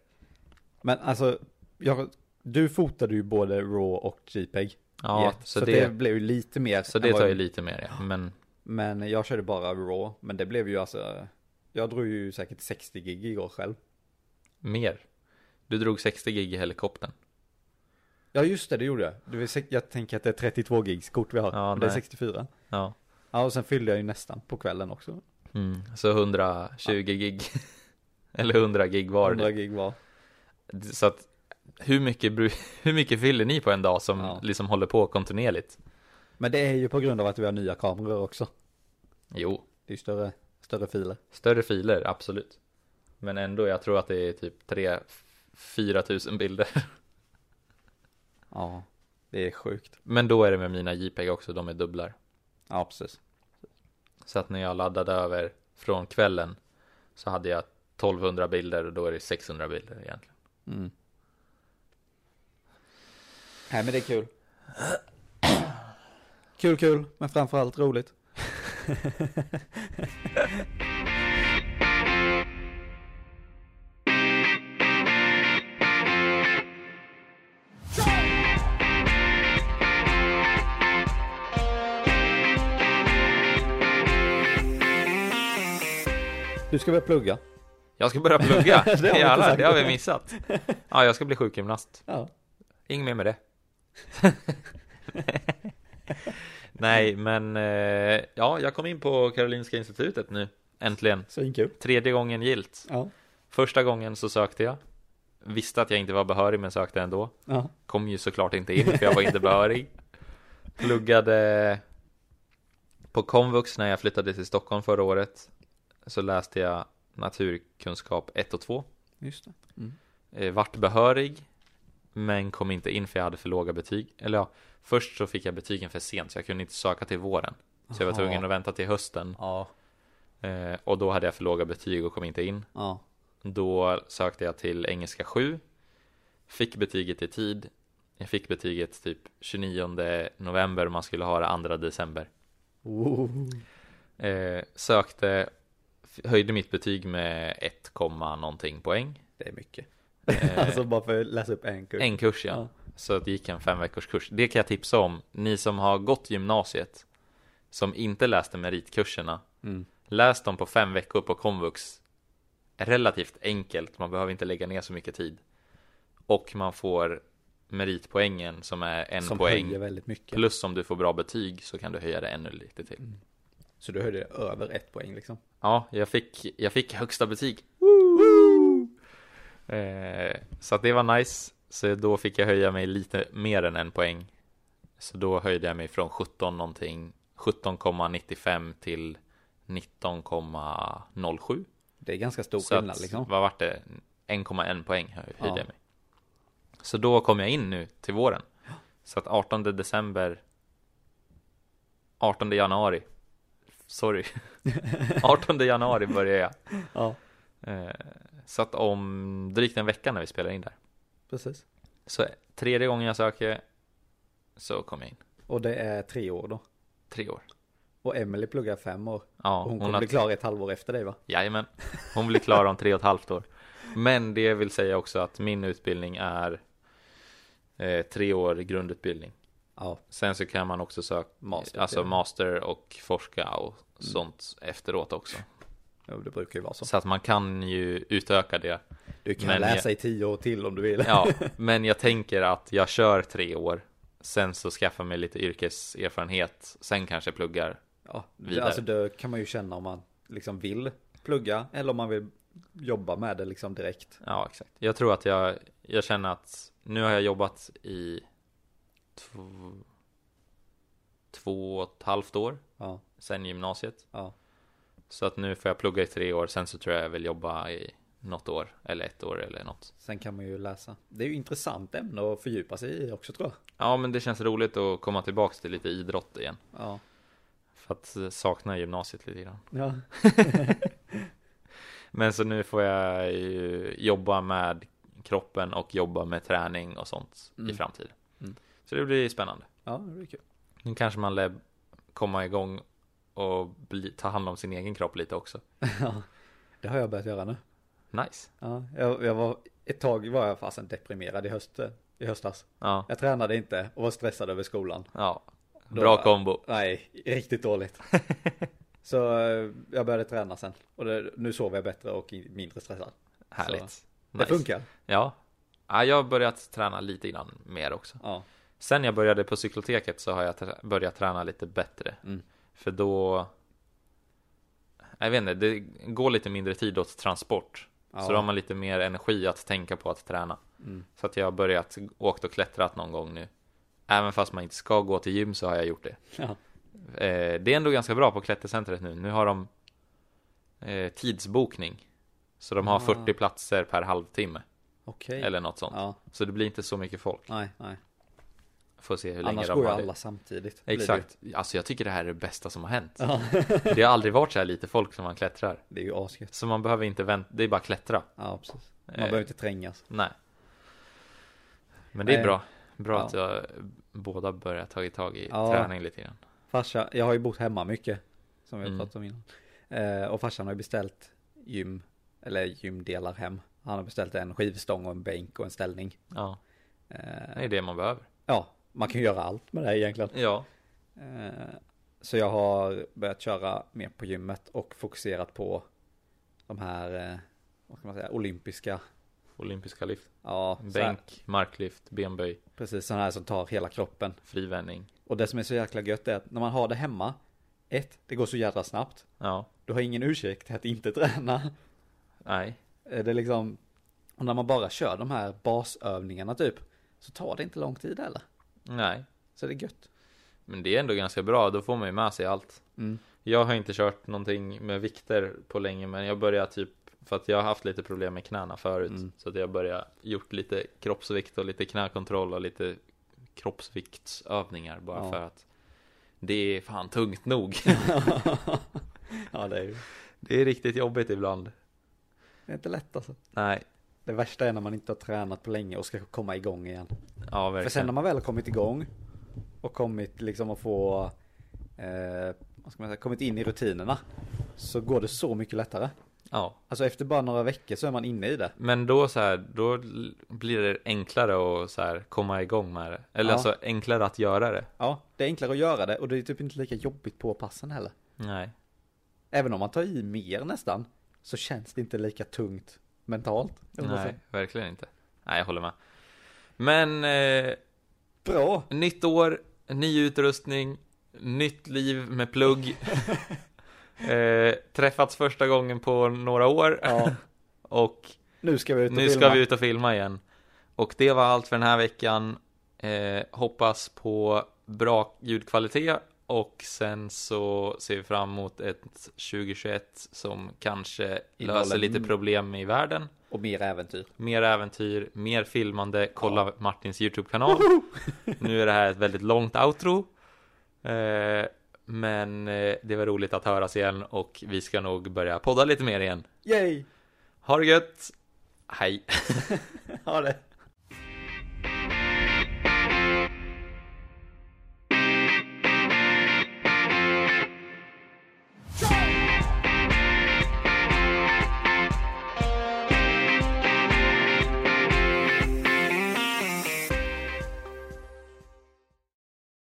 Speaker 2: Men alltså, jag, du fotade ju både RAW och JPEG.
Speaker 1: Ja,
Speaker 2: Jätte-
Speaker 1: så,
Speaker 2: så
Speaker 1: det,
Speaker 2: det blev ju lite mer.
Speaker 1: så
Speaker 2: än
Speaker 1: det
Speaker 2: vad-
Speaker 1: tar ju lite mer. Ja. Men
Speaker 2: Men jag körde bara RAW, men det blev ju alltså, jag drog ju säkert 60 gig igår själv.
Speaker 1: Mer. Du drog 60 gig i helikoptern.
Speaker 2: Ja just det, det gjorde jag. Det vill säga, jag tänker att det är 32 gigs kort vi har,
Speaker 1: Ja,
Speaker 2: men det är
Speaker 1: nej.
Speaker 2: 64.
Speaker 1: Ja.
Speaker 2: Ja, och sen fyllde jag ju nästan på kvällen också.
Speaker 1: Mm. Så 120 gig. Eller 100 gig var
Speaker 2: 100
Speaker 1: det.
Speaker 2: gig var.
Speaker 1: Så att hur mycket, bru- hur mycket fyller ni på en dag som
Speaker 2: Ja.
Speaker 1: liksom håller på kontinuerligt?
Speaker 2: Men det är ju på grund av att vi har nya kameror också.
Speaker 1: Jo,
Speaker 2: Det är ju större, större filer.
Speaker 1: större filer, absolut. Men ändå, jag tror att det är typ 3-4 tusen bilder.
Speaker 2: Ja, det är sjukt.
Speaker 1: Men då är det med mina JPEG också, de är dubblar.
Speaker 2: Ja, precis.
Speaker 1: Så att när jag laddade över från kvällen så hade jag 1200 bilder och då är det 600 bilder egentligen.
Speaker 2: Mm. Nej, men det är kul. Kul, kul, men framförallt roligt. Du ska börja plugga.
Speaker 1: Jag ska börja plugga!
Speaker 2: Det har vi inte
Speaker 1: Jävlar,
Speaker 2: sagt.
Speaker 1: det har vi missat. Ja, jag ska bli sjukgymnast.
Speaker 2: Ja.
Speaker 1: Inget mer med det. Nej, men eh, ja, jag kom in på Karolinska Institutet nu. Äntligen.
Speaker 2: Svinkul.
Speaker 1: Tredje gången gilt.
Speaker 2: Ja.
Speaker 1: Första gången så sökte jag. Visste att jag inte var behörig, men sökte ändå.
Speaker 2: Ja.
Speaker 1: Kom ju såklart inte in, för jag var inte behörig. Pluggade på komvux när jag flyttade till Stockholm förra året. Så läste jag naturkunskap 1 och 2.
Speaker 2: Just det.
Speaker 1: eh, vart behörig men kom inte in för jag hade för låga betyg. Eller ja, först så fick jag betygen för sent så jag kunde inte söka till våren. Så jag var
Speaker 2: Aha.
Speaker 1: tvungen att vänta till hösten
Speaker 2: Ja.
Speaker 1: eh, och då hade jag för låga betyg och kom inte in.
Speaker 2: Ja.
Speaker 1: Då sökte jag till engelska 7, fick betyget i tid. Jag fick betyget typ 29 november och man skulle ha det 2 december.
Speaker 2: Oh.
Speaker 1: Eh, sökte, f- höjde mitt betyg med 1, komma någonting poäng.
Speaker 2: Det är mycket.
Speaker 1: Eh,
Speaker 2: alltså bara för att läsa upp en kurs.
Speaker 1: En kurs ja.
Speaker 2: Ja.
Speaker 1: Så att det gick en fem veckors kurs. Det kan jag tipsa om. Ni som har gått gymnasiet, som inte läste meritkurserna,
Speaker 2: Mm.
Speaker 1: läs dem på fem veckor på komvux. Relativt enkelt, man behöver inte lägga ner så mycket tid. Och man får meritpoängen som är en
Speaker 2: Som
Speaker 1: poäng.
Speaker 2: höjer väldigt mycket.
Speaker 1: Plus om du får bra betyg så kan du höja det ännu lite till.
Speaker 2: Så du höjde över ett poäng liksom.
Speaker 1: Ja, jag fick, jag fick högsta betyg. Eh, så att det var nice. Så då fick jag höja mig lite mer än en poäng. Så då höjde jag mig från 17 någonting, 17,95 till 19,07.
Speaker 2: Det är ganska stor
Speaker 1: Så
Speaker 2: skillnad
Speaker 1: att,
Speaker 2: liksom.
Speaker 1: vad vart det? 1,1 poäng hö- höjde
Speaker 2: Ja.
Speaker 1: jag mig. Så då kom jag in nu till våren. Så att 18 december, 18 januari, sorry, 18 januari börjar jag.
Speaker 2: Ja,
Speaker 1: Eh, Så att om drygt en vecka när vi spelar in där.
Speaker 2: precis.
Speaker 1: Så tredje gången jag söker så kommer jag in.
Speaker 2: Och det är tre år då.
Speaker 1: Tre år.
Speaker 2: Och Emily pluggar fem år.
Speaker 1: Ja,
Speaker 2: Och hon
Speaker 1: hon,
Speaker 2: kommer
Speaker 1: har...
Speaker 2: bli klar ett halvår efter dig va?
Speaker 1: Jajamän. Hon blir klar om tre och ett halvt år. Men det vill säga också att min utbildning är eh, tre år grundutbildning.
Speaker 2: Ja,
Speaker 1: Sen så kan man också söka
Speaker 2: Master,
Speaker 1: alltså
Speaker 2: ja.
Speaker 1: master och forska och sånt efteråt också.
Speaker 2: jo, det brukar ju vara så.
Speaker 1: Så att man kan ju utöka det.
Speaker 2: Du kan
Speaker 1: Men
Speaker 2: läsa i tio år till om du vill.
Speaker 1: Ja, men jag tänker att jag kör tre år. Sen så skaffar mig lite yrkeserfarenhet. Sen kanske jag pluggar.
Speaker 2: Ja, det,
Speaker 1: vidare.
Speaker 2: alltså det kan man ju känna om man liksom vill plugga eller om man vill jobba med det liksom direkt.
Speaker 1: Ja, exakt. Jag tror att jag, jag känner att nu har jag jobbat i två, två och ett halvt år
Speaker 2: Ja,
Speaker 1: sen gymnasiet.
Speaker 2: ja,
Speaker 1: Så att nu får jag plugga i tre år. Sen så tror jag jag vill jobba i något år eller ett år eller något.
Speaker 2: sen kan man ju läsa. Det är ju intressant ämne att fördjupa sig i också tror jag.
Speaker 1: Ja, men det känns roligt att komma tillbaka till lite idrott igen.
Speaker 2: Ja,
Speaker 1: För att sakna gymnasiet lite grann.
Speaker 2: ja,
Speaker 1: Men så nu får jag ju jobba med kroppen och jobba med träning och sånt i
Speaker 2: Mm.
Speaker 1: framtiden.
Speaker 2: Mm.
Speaker 1: Så det blir spännande.
Speaker 2: ja det blir kul.
Speaker 1: Nu kanske man lär komma igång och bli, ta hand om sin egen kropp lite också.
Speaker 2: Ja, det har jag börjat göra nu.
Speaker 1: Nice.
Speaker 2: Ja, jag, jag var, ett tag var jag fasen deprimerad i, höst, eh, i höstas.
Speaker 1: Ja,
Speaker 2: Jag tränade inte och var stressad över skolan.
Speaker 1: ja.
Speaker 2: Då-
Speaker 1: Bra kombo.
Speaker 2: Nej, riktigt dåligt. Så eh, jag började träna sen. Och det, nu sover jag bättre och i- mindre stressad.
Speaker 1: Härligt.
Speaker 2: Det funkar.
Speaker 1: Ja. ja. Jag har börjat träna lite grann mer också.
Speaker 2: Ja,
Speaker 1: Sen jag började på cykloteket så har jag trä- börjat träna lite bättre.
Speaker 2: Mm.
Speaker 1: För då... Jag vet inte, det går lite mindre tid åt transport.
Speaker 2: Ja.
Speaker 1: Så då har man lite mer energi att tänka på att träna.
Speaker 2: Mm.
Speaker 1: Så att jag har börjat åkt och klättrat någon gång nu. Även fast man inte ska gå till gym så har jag gjort det.
Speaker 2: ja,
Speaker 1: Eh, det är ändå ganska bra på klättercentret nu. Nu har de eh, tidsbokning. Så de har
Speaker 2: Ah.
Speaker 1: 40 platser per halvtimme.
Speaker 2: okej.
Speaker 1: Eller något sånt.
Speaker 2: Ja,
Speaker 1: Så det blir inte så mycket folk.
Speaker 2: nej, nej.
Speaker 1: Får se hur länge
Speaker 2: Annars
Speaker 1: de
Speaker 2: går ju
Speaker 1: har det.
Speaker 2: alla samtidigt. blir det ju.
Speaker 1: Exakt. Alltså jag tycker det här är det bästa som har hänt.
Speaker 2: Ja,
Speaker 1: Det har aldrig varit så här lite folk som man klättrar.
Speaker 2: det är ju asgött.
Speaker 1: Så man behöver inte vänta, det är bara klättra.
Speaker 2: Ja, precis. Man
Speaker 1: Eh.
Speaker 2: behöver inte trängas.
Speaker 1: Nej. Men det är
Speaker 2: Nej.
Speaker 1: bra. Bra
Speaker 2: Ja.
Speaker 1: att jag, båda börjar ta tag i
Speaker 2: Ja.
Speaker 1: träning lite grann.
Speaker 2: Farsa, jag har ju bott hemma mycket. Som vi har
Speaker 1: Mm.
Speaker 2: pratat om innan. Eh, och farsan har ju beställt gym, eller gymdelar hem. Han har beställt en skivstång och en bänk och en ställning.
Speaker 1: Ja,
Speaker 2: Eh,
Speaker 1: det är det man behöver.
Speaker 2: ja, man kan ju göra allt med det här egentligen.
Speaker 1: Ja.
Speaker 2: Eh, Så jag har börjat köra mer på gymmet och fokuserat på de här, eh, vad ska man säga, olympiska,
Speaker 1: Olympiska lyft.
Speaker 2: ja, så här,
Speaker 1: Bänk, marklyft, benböj,
Speaker 2: precis sådana här som tar hela kroppen.
Speaker 1: frivändning.
Speaker 2: Och det som är så jäkla gött är att när man har det hemma, ett, det går så jävla snabbt.
Speaker 1: Ja.
Speaker 2: Du har ingen ursäkt att inte träna.
Speaker 1: Nej.
Speaker 2: Eh, Det är liksom, och när man bara kör de här basövningarna typ, så tar det inte lång tid heller.
Speaker 1: Nej.
Speaker 2: Så det är gött.
Speaker 1: Men det är ändå ganska bra. Då får man ju med sig allt.
Speaker 2: Mm.
Speaker 1: Jag har inte kört någonting med vikter på länge men jag börjar typ för att jag har haft lite problem med knäna förut
Speaker 2: Mm.
Speaker 1: så att jag börjar gjort lite kroppsvikt och lite knäkontroll och lite kroppsviktsövningar bara
Speaker 2: Ja.
Speaker 1: för att det är fan tungt nog.
Speaker 2: ja, det är ju
Speaker 1: det är riktigt jobbigt ibland.
Speaker 2: det är inte lätt alltså.
Speaker 1: Nej,
Speaker 2: Det värsta är när man inte har tränat på länge och ska komma igång igen.
Speaker 1: ja
Speaker 2: För sen när
Speaker 1: verkligen.
Speaker 2: man väl har kommit igång och kommit liksom att få, eh, vad ska man säga, kommit in i rutinerna så går det så mycket lättare.
Speaker 1: Ja.
Speaker 2: Alltså efter bara några veckor så är man inne i det.
Speaker 1: Men då så här, då l- blir det enklare att så här komma igång med det. Eller
Speaker 2: Ja.
Speaker 1: alltså enklare att göra det.
Speaker 2: Ja, det är enklare att göra det och det är typ inte lika jobbigt på passen heller.
Speaker 1: Nej,
Speaker 2: Även om man tar i mer nästan så känns det inte lika tungt mentalt. eller vad man
Speaker 1: nej,
Speaker 2: säger.
Speaker 1: verkligen inte. Nej, jag håller med. Men eh,
Speaker 2: Bra!
Speaker 1: Nytt år, ny utrustning, nytt liv med plugg. eh, träffats första gången på några år
Speaker 2: Ja,
Speaker 1: och
Speaker 2: nu ska vi ut och
Speaker 1: nu ska
Speaker 2: filma.
Speaker 1: vi ut och filma igen. Och det var allt för den här veckan. Eh, hoppas på bra ljudkvalitet och sen så ser vi fram emot ett 2021 som kanske
Speaker 2: Innehåller-
Speaker 1: löser lite problem i världen.
Speaker 2: Och mer äventyr.
Speaker 1: Mer äventyr, mer filmande, kolla Martins YouTube-kanal. nu är det här ett väldigt långt outro. Eh, men eh, det var roligt att höras igen och vi ska nog börja podda lite mer igen.
Speaker 2: Yay!
Speaker 1: Ha det gött! Hej!
Speaker 2: Ha det!